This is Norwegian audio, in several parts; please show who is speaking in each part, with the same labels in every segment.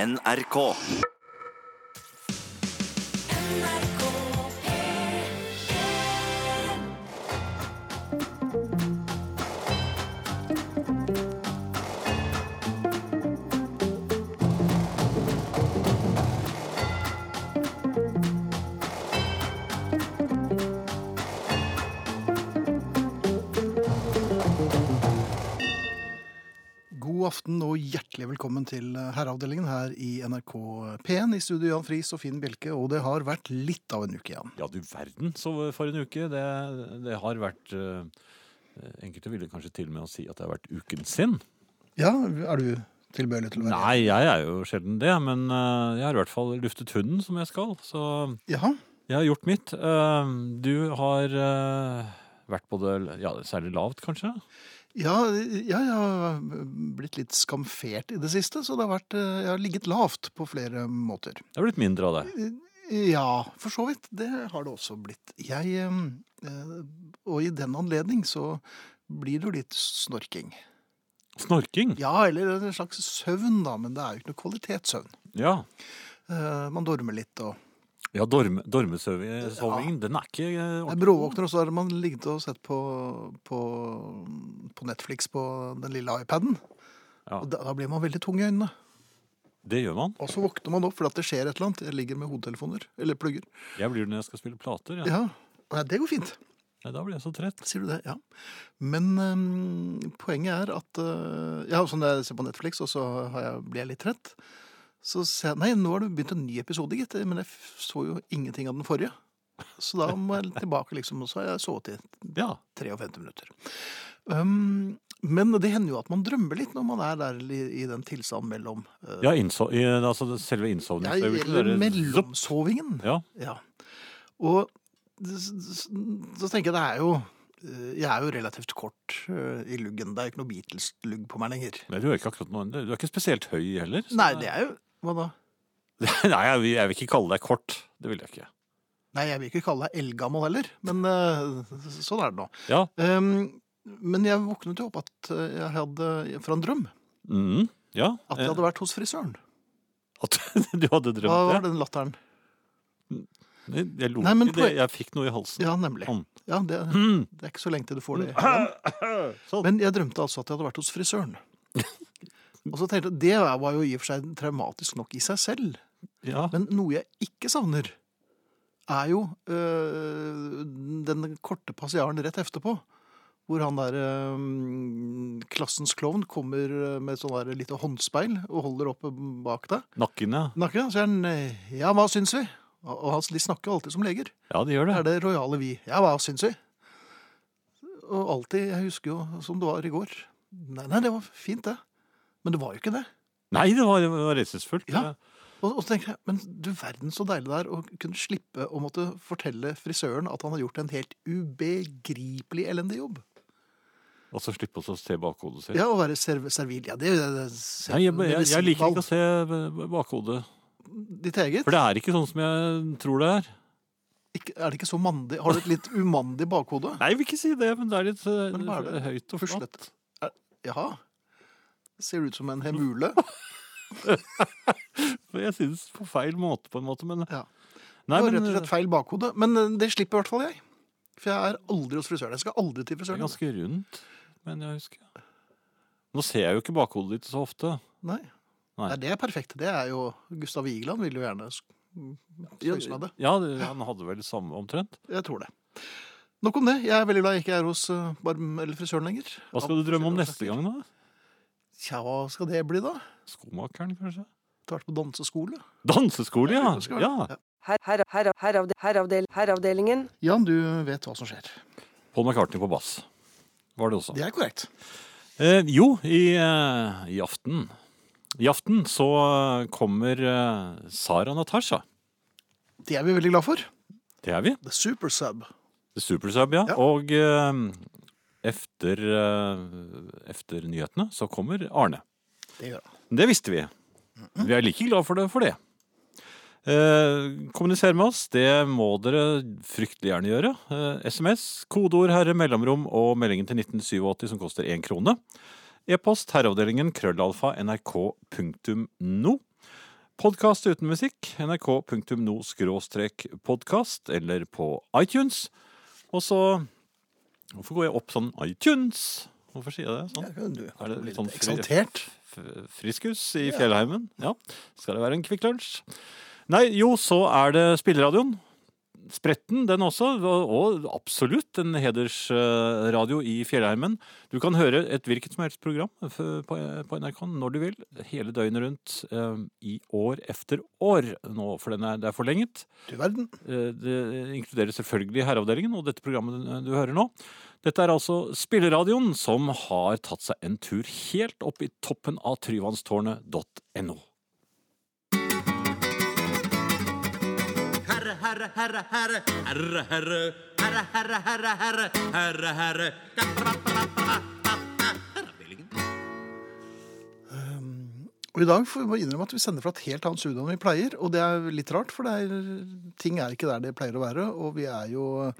Speaker 1: NRK.
Speaker 2: God aften og hjertelig velkommen til eh, Herreavdelingen her i NRK P1. I studio Jan Friis og Finn Bjelke, og det har vært litt av en uke igjen.
Speaker 3: Ja, du verden så for en uke. Det, det har vært eh, Enkelte ville kanskje til og med å si at det har vært uken sin.
Speaker 2: Ja, er du tilbøyelig til å være
Speaker 3: Nei, jeg er jo sjelden det, men eh, jeg har i hvert fall luftet hunden som jeg skal. Så
Speaker 2: Jaha.
Speaker 3: jeg har gjort mitt. Eh, du har eh, vært både ja, særlig lavt, kanskje?
Speaker 2: Ja, ja, jeg har blitt litt skamfert i det siste, så det har vært, eh, jeg har ligget lavt på flere måter.
Speaker 3: Det har blitt mindre av det.
Speaker 2: Ja, for så vidt. Det har det også blitt. Jeg eh, Og i den anledning så blir det jo litt snorking.
Speaker 3: Snorking?
Speaker 2: Ja, eller en slags søvn, da, men det er jo ikke noe kvalitetssøvn.
Speaker 3: Ja.
Speaker 2: Eh, Man dormer litt og
Speaker 3: Ja, dorme, Dormesovingen, den er ikke eh,
Speaker 2: Jeg bråvåkner, og så har man ligget og sett på, på, på Netflix på den lille iPaden.
Speaker 3: Ja.
Speaker 2: Og da, da blir man veldig tung i øynene.
Speaker 3: Det gjør man.
Speaker 2: Og så våkner man opp fordi at det skjer et eller annet. Jeg ligger med hodetelefoner. Eller plugger.
Speaker 3: Jeg blir det når jeg skal spille plater. Ja.
Speaker 2: Ja, Nei, Det går fint,
Speaker 3: Nei, Da blir jeg så trett.
Speaker 2: sier du det. ja. Men øhm, poenget er at øh, ja, sånn Når jeg ser på Netflix, og så har jeg, blir jeg litt trett Så ser jeg Nei, nå har det begynt en ny episode, gitt. Men jeg f- så jo ingenting av den forrige. Så da må jeg tilbake, liksom. Og så har jeg sovet i
Speaker 3: Ja.
Speaker 2: 53 minutter. Um, men det hender jo at man drømmer litt når man er der i, i den tilstanden mellom uh,
Speaker 3: ja innsov, i, altså det- selve
Speaker 2: jeg,
Speaker 3: innsovningsøyeblikket.
Speaker 2: Eller
Speaker 3: dere-
Speaker 2: mellomsovingen.
Speaker 3: Ja.
Speaker 2: Ja. Og s- s- så tenker jeg det er jo eh, Jeg er jo relativt kort eh, i luggen. Det er jo ikke noe Beatles-lugg på meg lenger.
Speaker 3: Nei, du er ikke akkurat noen, du er ikke spesielt høy heller. så-
Speaker 2: Nei, det Sånn er jo Hva da?
Speaker 3: Nei, jeg vil, jeg vil ikke kalle deg kort. Det vil jeg ikke.
Speaker 2: Nei, jeg vil ikke kalle deg eldgammel heller, men eh, sånn er det nå.
Speaker 3: Ja.
Speaker 2: Um, men jeg våknet jo opp at eh, jeg hadde, fra en drøm
Speaker 3: mhm, ja.
Speaker 2: at jeg hadde vært hos frisøren.
Speaker 3: Eh, at du hadde
Speaker 2: Hva
Speaker 3: drømt
Speaker 2: var den latteren?
Speaker 3: det? Jeg lo
Speaker 2: Nei, men
Speaker 3: ikke. Det, jeg fikk noe i halsen. Sånn.
Speaker 2: Ja, nemlig.
Speaker 3: Om.
Speaker 2: Ja, det,
Speaker 3: Mm.
Speaker 2: det er ikke så lenge til du får det.
Speaker 3: Ah! Sånn.
Speaker 2: Men jeg drømte altså at jeg hadde vært hos frisøren. Og så tenkte jeg, Det var jo i og for seg traumatisk nok i seg selv,
Speaker 3: Ja.
Speaker 2: men noe jeg ikke savner, er jo øh, den korte passiaren rett etterpå. Hvor han der øh, klassens klovn kommer med sånn der lite håndspeil og holder opp bak deg.
Speaker 3: Nakken, ja.
Speaker 2: Nakken, så sier han øh, 'ja, hva syns vi?' Og- Og han- de snakker jo alltid som leger.
Speaker 3: Ja, det gjør
Speaker 2: Det
Speaker 3: det.
Speaker 2: er det rojale vi. Ja, hva syns vi? Og alltid, jeg husker jo som det var i går. Nei, nei, det var fint det. Men det var jo ikke det.
Speaker 3: Nei, det var, det var redselsfullt.
Speaker 2: Ja. Og, og så tenker jeg, men du verden så deilig det er å kunne slippe å måtte fortelle frisøren at han har gjort en helt ubegripelig elendig jobb.
Speaker 3: Og så slippe oss å se bakhodet sitt.
Speaker 2: Ja, å være serv servil. Ja, det, det, det
Speaker 3: Nei, jeg, jeg, jeg liker ikke å
Speaker 2: medisinfall.
Speaker 3: se b- bakhodet.
Speaker 2: Ditt eget?
Speaker 3: For det er ikke sånn som jeg tror det er.
Speaker 2: Ikke, er det ikke så mandig? Har du et litt umandig bakhode?
Speaker 3: Nei, jeg vil ikke si det, men det er litt eh,
Speaker 2: Men hva er det?
Speaker 3: høyt og
Speaker 2: Fuslet.
Speaker 3: flatt.
Speaker 2: Jaha. Ser ut som en hemule?
Speaker 3: For Jeg synes på feil måte, på en måte, men
Speaker 2: Ja.
Speaker 3: Nei,
Speaker 2: det var
Speaker 3: men
Speaker 2: rett og slett
Speaker 3: jeg
Speaker 2: feil bakhode. Men eh, det slipper i hvert fall jeg. For jeg er aldri hos frisøren. Jeg skal aldri til
Speaker 3: er
Speaker 2: frisøren.
Speaker 3: ganske rundt, men jeg husker. Nå ser jeg jo ikke bakhodet ditt så ofte.
Speaker 2: Nei.
Speaker 3: Nei.
Speaker 2: Nei. det er perfekt. Det er jo Gustav Vigeland vil jo gjerne sk- skøyse med det.
Speaker 3: Ja, det- han hadde vel samme omtrent.
Speaker 2: Jeg tror det. Nok om det. Jeg er veldig glad jeg ikke er hos eh, barm eller frisøren lenger.
Speaker 3: Hva skal du drømme om neste gang, da?
Speaker 2: Tja, hva skal det bli, da?
Speaker 3: Skomakeren, kanskje?
Speaker 2: Etter hvert på danseskole?
Speaker 3: Danseskole, ja!
Speaker 2: Det skal-
Speaker 3: ja.
Speaker 4: Her, her, her, heravde, heravdel, heravdelingen.
Speaker 2: Jan, du vet hva som skjer.
Speaker 3: Paul McCartney på bass. Var det også.
Speaker 2: Det er korrekt.
Speaker 3: Eh, jo, i, eh, i aften I aften så eh, kommer eh, Sara Natasha.
Speaker 2: Det er vi veldig glad for.
Speaker 3: Det er vi.
Speaker 2: The Super Sub.
Speaker 3: Supersub, ja.
Speaker 2: Ja.
Speaker 3: Og eh, efter, eh, efter nyhetene så kommer Arne.
Speaker 2: Det gjør han.
Speaker 3: Det visste vi. Vi er like glad for det for det. Eh, kommuniser med oss, det må dere fryktelig gjerne gjøre. Eh, SMS, kodeord herre, mellomrom og meldingen til 1987 som koster én krone. E-post herreavdelingen krøllalfa nrk.no. Podkast uten musikk, nrk.no-podkast, eller på iTunes. Og så Hvorfor går jeg opp sånn iTunes? Hvorfor sier jeg det sånn?
Speaker 2: Du
Speaker 3: Er det litt
Speaker 2: blir
Speaker 3: sånn
Speaker 2: litt
Speaker 3: fri-
Speaker 2: eksaltert.
Speaker 3: f- friskus i fjellheimen. Ja. Skal det være en Kvikk Lunsj? Nei, jo, så er det spilleradioen. Spretten, den også, og og absolutt en hedersradio i fjellheimen. Du kan høre et hvilket som helst program f- på på NRK når du vil, hele døgnet rundt, eh, i år efter år nå, for den er, det er forlenget.
Speaker 2: Du verden.
Speaker 3: Eh, Det inkluderer selvfølgelig herreavdelingen og dette programmet du- du hører nå. Dette er altså spilleradioen som har tatt seg en tur helt opp i toppen av tryvannstårnet.no.
Speaker 1: herre, herre, herre, herre, herre, herre, herre, herre, herre, herre, herre, herre. Herreavdelingen.
Speaker 2: Og i dag får vi bare innrømme at vi sender fra et helt annet studio enn vi pleier. Og det er litt rart, for det er, ting er ikke der det pleier å være. Og vi er jo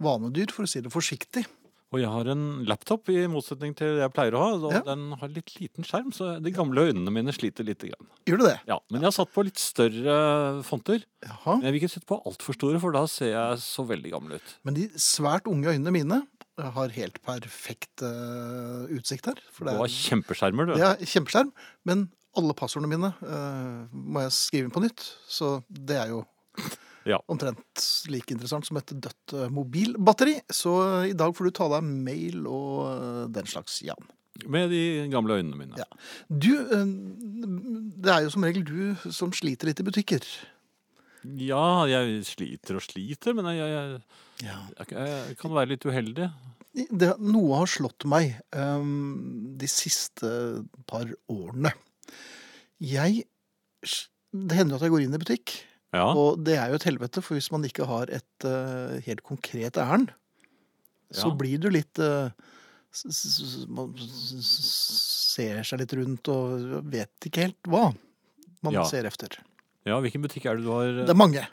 Speaker 2: vanedyr, for å si det forsiktig.
Speaker 3: Og jeg har en laptop, i motsetning til det jeg pleier å ha. Og
Speaker 2: Ja.
Speaker 3: Den har litt liten skjerm, så de gamle øynene mine sliter lite grann.
Speaker 2: Gjør det det?
Speaker 3: Ja, men jeg har satt på litt større fonter.
Speaker 2: Jaha.
Speaker 3: Men jeg vil ikke sette på altfor store, for da ser jeg så veldig gammel ut.
Speaker 2: Men de svært unge øynene mine har helt perfekt eh, utsikt her. For
Speaker 3: Du
Speaker 2: det
Speaker 3: har
Speaker 2: er,
Speaker 3: kjempeskjermer, du.
Speaker 2: det er kjempeskjerm. Men alle passordene mine eh, må jeg skrive inn på nytt. Så det er jo
Speaker 3: Ja.
Speaker 2: omtrent like interessant som et dødt eh, mobilbatteri. Så i dag får du ta deg mail og eh, den slags, Jan.
Speaker 3: Med de gamle øynene mine.
Speaker 2: Ja. Du, eh, det er jo som regel du som sliter litt i butikker.
Speaker 3: Ja, jeg sliter og sliter, men jeg, jeg, jeg, jeg kan være litt uheldig.
Speaker 2: Det, noe har slått meg eh, de siste par årene. Jeg Det hender jo at jeg går inn i butikk,
Speaker 3: Ja,
Speaker 2: og det er jo et helvete, for hvis man ikke har et eh, helt konkret ærend, så
Speaker 3: Ja.
Speaker 2: blir du litt eh, s- s- s- Man s- s- ser seg litt rundt og vet ikke helt hva man
Speaker 3: Ja.
Speaker 2: ser efter.
Speaker 3: ja hvilken butikk er det du har? eh,
Speaker 2: Det er mange.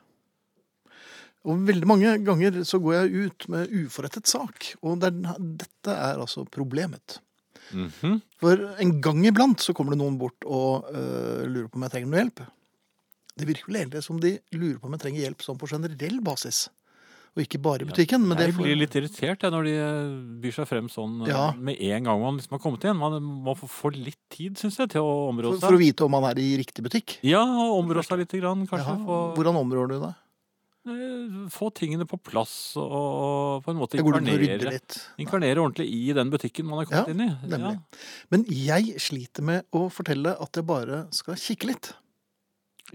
Speaker 2: Og veldig mange ganger så går jeg ut med uforrettet sak, og det er, dette er altså problemet.
Speaker 3: Mhm.
Speaker 2: For en gang iblant så kommer det noen bort og øh, lurer på om jeg trenger noe hjelp. Det virker vel egentlig som de lurer på om jeg trenger hjelp sånn på generell basis. Og ikke bare i butikken. men det
Speaker 3: Jeg
Speaker 2: får-
Speaker 3: blir litt irritert jeg, når de eh, byr seg frem sånn eh,
Speaker 2: Ja.
Speaker 3: med en gang man liksom har kommet igjen. Man må få, få litt tid, syns jeg, til å
Speaker 2: for,
Speaker 3: område
Speaker 2: for å
Speaker 3: seg.
Speaker 2: vite om man er i riktig butikk.
Speaker 3: Ja, og områ seg litt, grann, kanskje.
Speaker 2: Jaha,
Speaker 3: Få,
Speaker 2: Hvordan områder du deg?
Speaker 3: eh, få tingene på plass og, og på en måte
Speaker 2: Jeg går rundt og rydder
Speaker 3: inkarnere,
Speaker 2: litt.
Speaker 3: inkarnere ordentlig i den butikken man har kommet
Speaker 2: Ja,
Speaker 3: inn i.
Speaker 2: nemlig. Men jeg sliter med å fortelle at jeg bare skal kikke litt.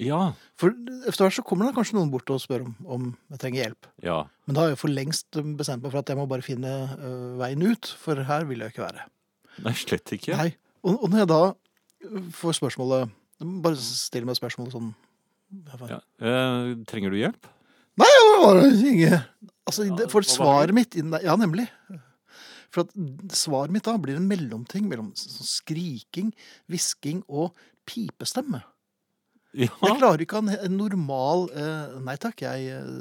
Speaker 3: Ja.
Speaker 2: For etter hvert så kommer det kanskje noen bort og spør om, om jeg trenger hjelp.
Speaker 3: ja, ja.
Speaker 2: Men da har jeg for lengst bestemt meg for at jeg må bare finne øh, veien ut, for her vil jeg ikke være.
Speaker 3: Nei, slett ikke.
Speaker 2: Nei. Og, og når jeg da øh, får spørsmålet Bare still meg spørsmålet sånn jeg bare,
Speaker 3: Ja. Eh, trenger du hjelp?
Speaker 2: «Bare ringe». Altså,
Speaker 3: Ja,
Speaker 2: det, For
Speaker 3: hva var
Speaker 2: svaret mitt inn der Ja, nemlig. For at svaret mitt da blir en mellomting mellom sånn skriking, hvisking og pipestemme.
Speaker 3: Ja.
Speaker 2: Jeg klarer ikke å ha en- en normal eh, Nei takk, jeg eh,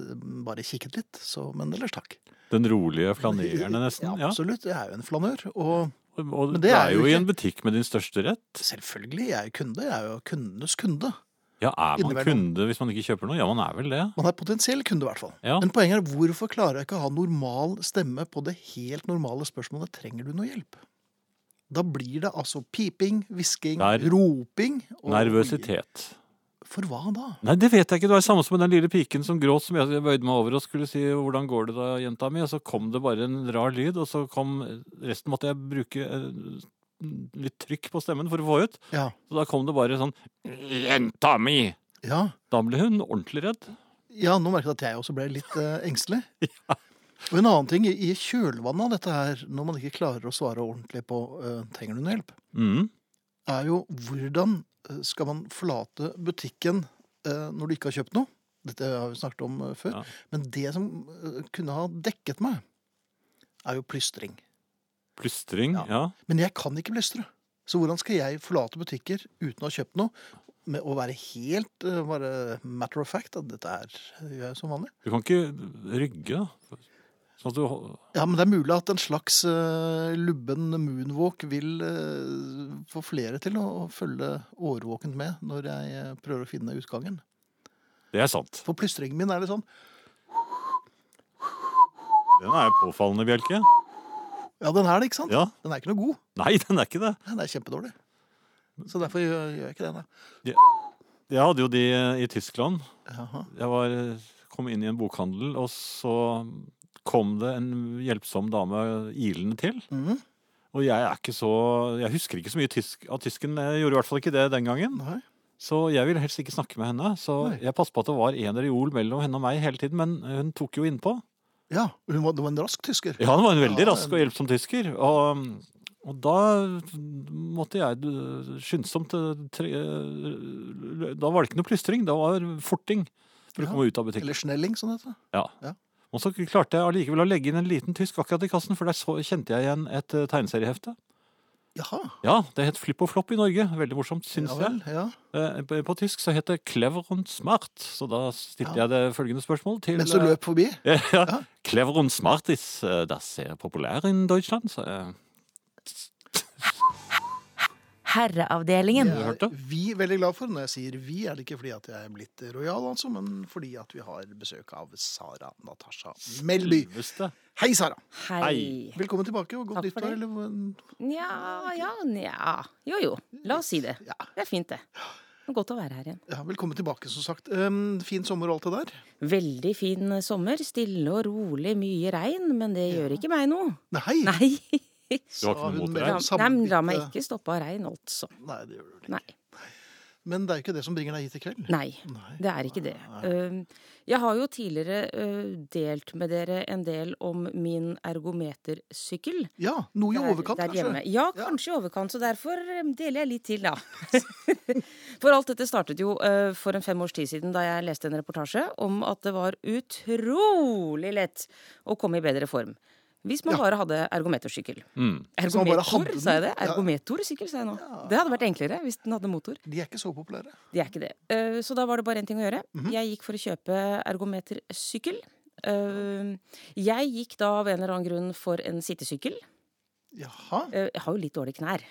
Speaker 2: bare kikket litt, så, men ellers takk.
Speaker 3: Den rolige flanerende, nesten.
Speaker 2: Ja,
Speaker 3: Ja,
Speaker 2: absolutt. Jeg er jo en flanør. Og
Speaker 3: Og
Speaker 2: Men
Speaker 3: du
Speaker 2: det er
Speaker 3: er jo
Speaker 2: jo
Speaker 3: i
Speaker 2: ikke-
Speaker 3: en butikk med din største rett.
Speaker 2: selvfølgelig, jeg er jo kunde. Jeg er jo kundenes kunde.
Speaker 3: Ja, er man
Speaker 2: Innimellom.
Speaker 3: kunde hvis man ikke kjøper noe? Ja, man er vel det.
Speaker 2: Man er potensiell kunde, i hvert fall.
Speaker 3: Ja.
Speaker 2: Men poenget er hvorfor klarer jeg ikke å ha normal stemme på det helt normale spørsmålet 'trenger du noe hjelp'? Da blir det altså piping, hvisking,
Speaker 3: Ner-
Speaker 2: roping og-
Speaker 3: Nervøsitet.
Speaker 2: For hva da?
Speaker 3: Nei, det vet jeg ikke. Det var det samme som med den lille piken som gråt, som jeg bøyde meg over og skulle si 'hvordan går det da, jenta mi', og så kom det bare en rar lyd, og så kom Resten måtte jeg bruke eh, litt trykk på stemmen for å få ut.
Speaker 2: Ja.
Speaker 3: Så da kom det bare sånn 'jenta mi'!
Speaker 2: ja.
Speaker 3: Da ble hun ordentlig redd.
Speaker 2: Ja, nå merket jeg at jeg også ble litt eh, engstelig. Og en annen ting, i kjølvannet av dette her, når man ikke klarer å svare ordentlig på eh, 'trenger du noe hjelp',
Speaker 3: Mm.
Speaker 2: er jo hvordan eh, skal man forlate butikken eh, når du ikke har kjøpt noe? Dette har vi snakket om eh, før.
Speaker 3: Ja.
Speaker 2: Men det som eh, kunne ha dekket meg, er jo plystring.
Speaker 3: Plystring.
Speaker 2: Ja.
Speaker 3: ja.
Speaker 2: Men jeg kan ikke plystre. Så hvordan skal jeg forlate butikker uten å ha kjøpt noe? Med å være helt eh, bare matter of fact at dette er gjør jeg som vanlig.
Speaker 3: Du kan ikke rygge, da. Sånn at du hol-
Speaker 2: Ja, men det er mulig at en slags eh, lubben moonwalk vil eh, få flere til å, å følge årvåkent med når jeg eh, prøver å finne utgangen.
Speaker 3: Det er sant.
Speaker 2: For plystringen min er litt sånn
Speaker 3: Den er påfallende, Bjelke.
Speaker 2: Ja, den er det, ikke sant?
Speaker 3: Ja.
Speaker 2: Den er ikke noe god.
Speaker 3: Nei, den er ikke det.
Speaker 2: Nei, den er kjempedårlig. Så derfor gjør, gjør jeg ikke det, nei.
Speaker 3: Jeg hadde jo de eh, i Tyskland.
Speaker 2: Jaha.
Speaker 3: Jeg var, eh, kom inn i en bokhandel, og så kom det en hjelpsom dame ilende til.
Speaker 2: Mhm.
Speaker 3: Og jeg er ikke så Jeg husker ikke så mye tysk av tysken. Jeg gjorde i hvert fall ikke det den gangen.
Speaker 2: Nei.
Speaker 3: Så jeg ville helst ikke snakke med henne. Så
Speaker 2: Nei.
Speaker 3: jeg passet på at det var en reol mellom henne og meg hele tiden, men hun tok jo innpå.
Speaker 2: Ja, hun var, det var en rask tysker.
Speaker 3: Ja, han var en veldig
Speaker 2: Ja,
Speaker 3: rask og hjelpsom tysker. Og, og da måtte jeg eh, skyndsomt eh, tre, eh, Da var det ikke noe plystring, det var forting for
Speaker 2: Ja,
Speaker 3: å komme ut av butikken.
Speaker 2: Eller Snelling, som det heter.
Speaker 3: Ja.
Speaker 2: ja.
Speaker 3: Og så klarte jeg allikevel å legge inn en liten tysk akkurat i kassen, for der så, kjente jeg igjen et eh, tegneseriehefte.
Speaker 2: Jaha.
Speaker 3: Ja, det het Flipp og Flopp i Norge. Veldig morsomt, syns
Speaker 2: Ja
Speaker 3: jeg.
Speaker 2: vel, ja.
Speaker 3: Eh, På, på tysk så het det Clever und Smart, så da stilte
Speaker 2: Ja.
Speaker 3: jeg det følgende spørsmål til
Speaker 2: Mens du løp forbi.
Speaker 3: Ja, ja.
Speaker 2: Ja.
Speaker 3: Clever und smart ist äh, das sehr populär in Deutschland. Så, eh,
Speaker 5: Herreavdelingen.
Speaker 2: Det er
Speaker 3: hørte.
Speaker 2: Vi veldig glad for. Når jeg sier vi, er det ikke fordi at jeg er blitt rojal, altså, men fordi at vi har besøk av Sara Natasha Melby.
Speaker 3: Selveste.
Speaker 2: Hei, Sara.
Speaker 5: Hei.
Speaker 2: Velkommen tilbake, og godt
Speaker 5: Takk for
Speaker 2: nyttår.
Speaker 5: det.
Speaker 2: Eller, hva-
Speaker 5: Nja, ja, nja. Jo, jo. La oss si det.
Speaker 2: Ja.
Speaker 5: Det er fint, det. Det er Godt å være her igjen.
Speaker 2: ja, velkommen tilbake, som sagt. Um, fin sommer og alt det der?
Speaker 5: Veldig fin eh, sommer. Stille og rolig, mye regn, men det gjør ikke meg noe.
Speaker 2: Nei!
Speaker 5: Nei,
Speaker 3: Du har ikke noe mot
Speaker 5: la,
Speaker 3: deg?
Speaker 5: nei men la meg ikke stoppe av regn, altså.
Speaker 2: Nei, det gjør du vel ikke.
Speaker 5: Nei.
Speaker 2: Men det er jo ikke det som bringer deg hit i kveld.
Speaker 5: Nei, det er ikke det. Eh, Jeg har jo tidligere eh, delt med dere en del om min ergometersykkel.
Speaker 2: Ja, noe i
Speaker 5: Der-
Speaker 2: overkant,
Speaker 5: der hjemme.
Speaker 2: kanskje.
Speaker 5: Ja, kanskje i overkant, så derfor eh, deler jeg litt til, da. for alt dette startet jo eh, for en fem års tid siden da jeg leste en reportasje om at det var utrolig lett å komme i bedre form. Hvis man bare hadde ergometersykkel.
Speaker 2: Mm. man bare
Speaker 5: Ergometor,
Speaker 2: hadde den.
Speaker 5: sa jeg det?
Speaker 2: Ja.
Speaker 5: Ergometersykkel, sa jeg nå. Det hadde vært enklere hvis den hadde motor.
Speaker 2: De er ikke så populære.
Speaker 5: Det er ikke det. Eh, Så da var det bare én ting å gjøre.
Speaker 2: Mhm.
Speaker 5: Jeg gikk for å kjøpe ergometersykkel. Eh, Jeg gikk da av en eller annen grunn for en sittesykkel.
Speaker 2: Jaha.
Speaker 5: Eh, Jeg har jo litt dårlige knær.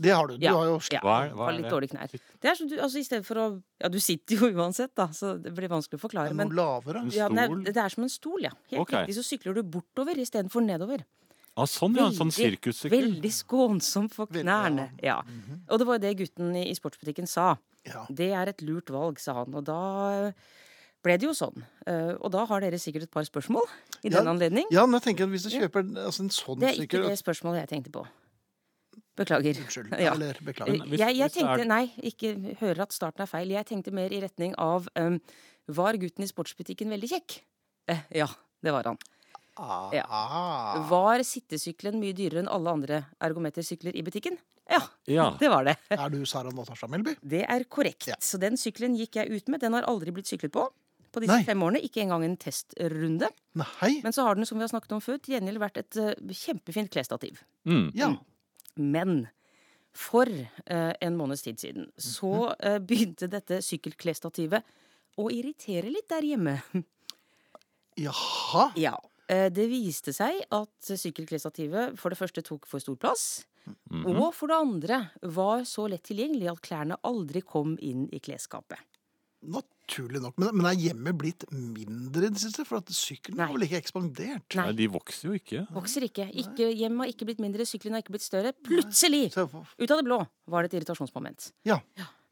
Speaker 2: Det har du. Du
Speaker 5: Ja.
Speaker 2: har jo
Speaker 5: Ja,
Speaker 3: Hva er- hva
Speaker 5: har
Speaker 3: er
Speaker 5: litt
Speaker 3: det?
Speaker 5: dårlige knær. Det er så du, altså i stedet for å Ja, du sitter jo uansett, da, så det blir vanskelig å forklare.
Speaker 2: noe
Speaker 5: Men
Speaker 2: lavere.
Speaker 3: En
Speaker 5: ja, den er,
Speaker 3: stol?
Speaker 5: det er som en stol, ja. Helt
Speaker 3: Ok.
Speaker 5: riktig. Så sykler du bortover istedenfor nedover.
Speaker 3: Ah, sånn, ja. En sånn sirkussykkel.
Speaker 5: veldig skånsom for
Speaker 2: Veldig, Mhm.
Speaker 5: knærne. Ja. Og det var jo det gutten i, i sportsbutikken sa.
Speaker 2: Ja.
Speaker 5: Det er et lurt valg, sa han. Og da ble det jo sånn. Eh, Og da har dere sikkert et par spørsmål i
Speaker 2: Ja,
Speaker 5: den anledning.
Speaker 2: Ja, men jeg tenker at hvis du kjøper altså, en sånn
Speaker 5: Det er ikke
Speaker 2: sykkel
Speaker 5: det spørsmålet jeg tenkte på. Beklager.
Speaker 2: Unnskyld.
Speaker 5: Ja.
Speaker 2: Eller beklager.
Speaker 3: Men hvis-
Speaker 5: Eh, Jeg, jeg
Speaker 3: hvis det er-
Speaker 5: tenkte, nei, ikke hører at starten er feil. Jeg tenkte mer i retning av um, Var gutten i sportsbutikken veldig kjekk? Eh, ja, det var han.
Speaker 2: Ah,
Speaker 5: Ja.
Speaker 2: ah.
Speaker 5: Var sittesykkelen mye dyrere enn alle andre ergometersykler i butikken? Ja,
Speaker 3: Ja.
Speaker 5: det var det.
Speaker 2: Er du Sara Natasha Melby?
Speaker 5: Det er korrekt.
Speaker 2: Ja.
Speaker 5: Så den sykkelen gikk jeg ut med. Den har aldri blitt syklet på. På disse
Speaker 2: Nei.
Speaker 5: fem årene, Ikke engang en testrunde.
Speaker 2: Nei.
Speaker 5: Men så har den som vi har snakket om før, til gjengjeld vært et eh, kjempefint klesstativ.
Speaker 3: Mm.
Speaker 2: Ja.
Speaker 5: Men for eh, en måneds tid siden så eh, begynte dette sykkelklesstativet å irritere litt der hjemme.
Speaker 2: Jaha.
Speaker 5: Ja. eh, det viste seg at sykkelklesstativet for det første tok for stor plass. Og for det andre var så lett tilgjengelig at klærne aldri kom inn i klesskapet.
Speaker 2: Naturlig nok. Men, men er hjemmet blitt mindre i det siste? For at sykkelen har
Speaker 5: Nei.
Speaker 2: vel ikke ekspandert?
Speaker 5: Nei.
Speaker 3: Nei, de vokser jo ikke.
Speaker 5: Vokser ikke. ikke hjemmet har ikke blitt mindre, sykkelen har ikke blitt større. Plutselig,
Speaker 2: Så, jeg får-
Speaker 5: ut av det blå, var det et irritasjonsmoment.
Speaker 2: ja.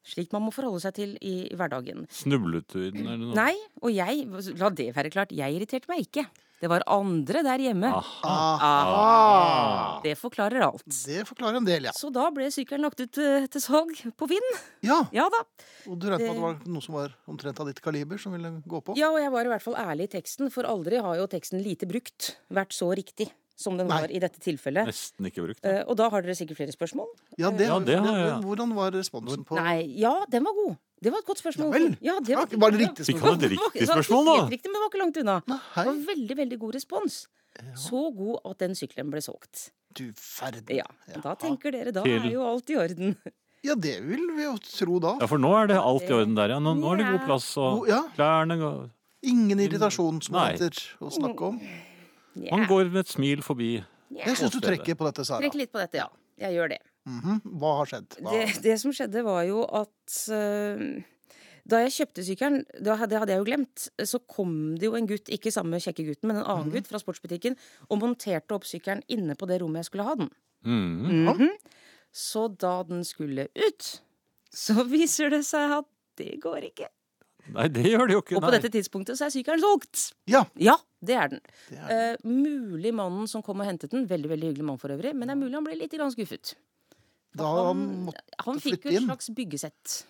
Speaker 5: Slik man må forholde seg til i hverdagen.
Speaker 3: Snublet du i den, eller noe?
Speaker 5: Nei, og jeg, la det være klart, jeg irriterte meg ikke. Det var andre der hjemme.
Speaker 3: Aha.
Speaker 5: Ah, Det forklarer alt.
Speaker 2: Det forklarer en del, ja.
Speaker 5: Så da ble sykkelen lagt ut eh, til salg på Finn.
Speaker 2: Ja,
Speaker 5: Ja da.
Speaker 2: Og du regnet med at det var noe som var omtrent av ditt kaliber, som ville gå på?
Speaker 5: Ja, og jeg var i hvert fall ærlig i teksten, for aldri har jo teksten lite brukt vært så riktig som den
Speaker 2: Nei.
Speaker 5: var i dette tilfellet.
Speaker 3: Nesten ikke brukt.
Speaker 5: Eh, Og da har dere sikkert flere spørsmål.
Speaker 2: Ja, det,
Speaker 3: Ja, det har jeg, ja.
Speaker 2: Men hvordan var responsen på
Speaker 5: Nei, ja, den var god. Det var et godt spørsmål.
Speaker 2: Ja vel.
Speaker 5: Ja, det
Speaker 2: Ja, var det riktig
Speaker 3: Vi kan ha et riktig
Speaker 5: Det var ikke
Speaker 3: spørsmål, da.
Speaker 5: Helt riktig, men det var ikke langt unna.
Speaker 2: Nei.
Speaker 5: Det var veldig, veldig god respons. Så god at den sykkelen ble solgt.
Speaker 2: Du verden.
Speaker 5: Ja, men Da tenker dere, da
Speaker 3: Til-
Speaker 5: er jo alt i orden.
Speaker 2: Ja, det vil vi jo tro da.
Speaker 3: Ja, for nå er det alt i orden der, ja. Nå, nå er det god plass, og
Speaker 2: Ja.
Speaker 3: klærne går
Speaker 5: Mm.
Speaker 2: Ingen irritasjonsmomenter å snakke om.
Speaker 3: Man
Speaker 5: Ja.
Speaker 3: går med et smil forbi.
Speaker 5: Ja.
Speaker 2: Jeg syns du
Speaker 3: Åstedet.
Speaker 2: trekker på dette, Sara.
Speaker 5: Trekk litt på dette, ja. Jeg gjør det.
Speaker 2: Mhm. Hva har skjedd? Hva?
Speaker 5: Det, det som skjedde, var jo at eh, da jeg kjøpte sykkelen, da hadde- det hadde jeg jo glemt, så kom det jo en gutt, ikke samme kjekke gutten, men en
Speaker 3: Mhm.
Speaker 5: annen gutt fra sportsbutikken, og monterte opp sykkelen inne på det rommet jeg skulle ha den.
Speaker 3: Mm.
Speaker 5: Så da den skulle ut, så viser det seg at det går ikke.
Speaker 3: Nei, det gjør det jo ikke.
Speaker 5: Og på
Speaker 3: nei.
Speaker 5: dette tidspunktet så er sykkelen solgt.
Speaker 2: Ja,
Speaker 5: Ja, det er den.
Speaker 2: det er
Speaker 5: Eh, mulig mannen som kom og hentet den, veldig veldig hyggelig mann for øvrig, men det er mulig han ble litt grann skuffet.
Speaker 2: Da
Speaker 5: han,
Speaker 2: måtte
Speaker 5: han
Speaker 2: flytte
Speaker 5: fikk jo et
Speaker 2: inn.
Speaker 5: slags byggesett.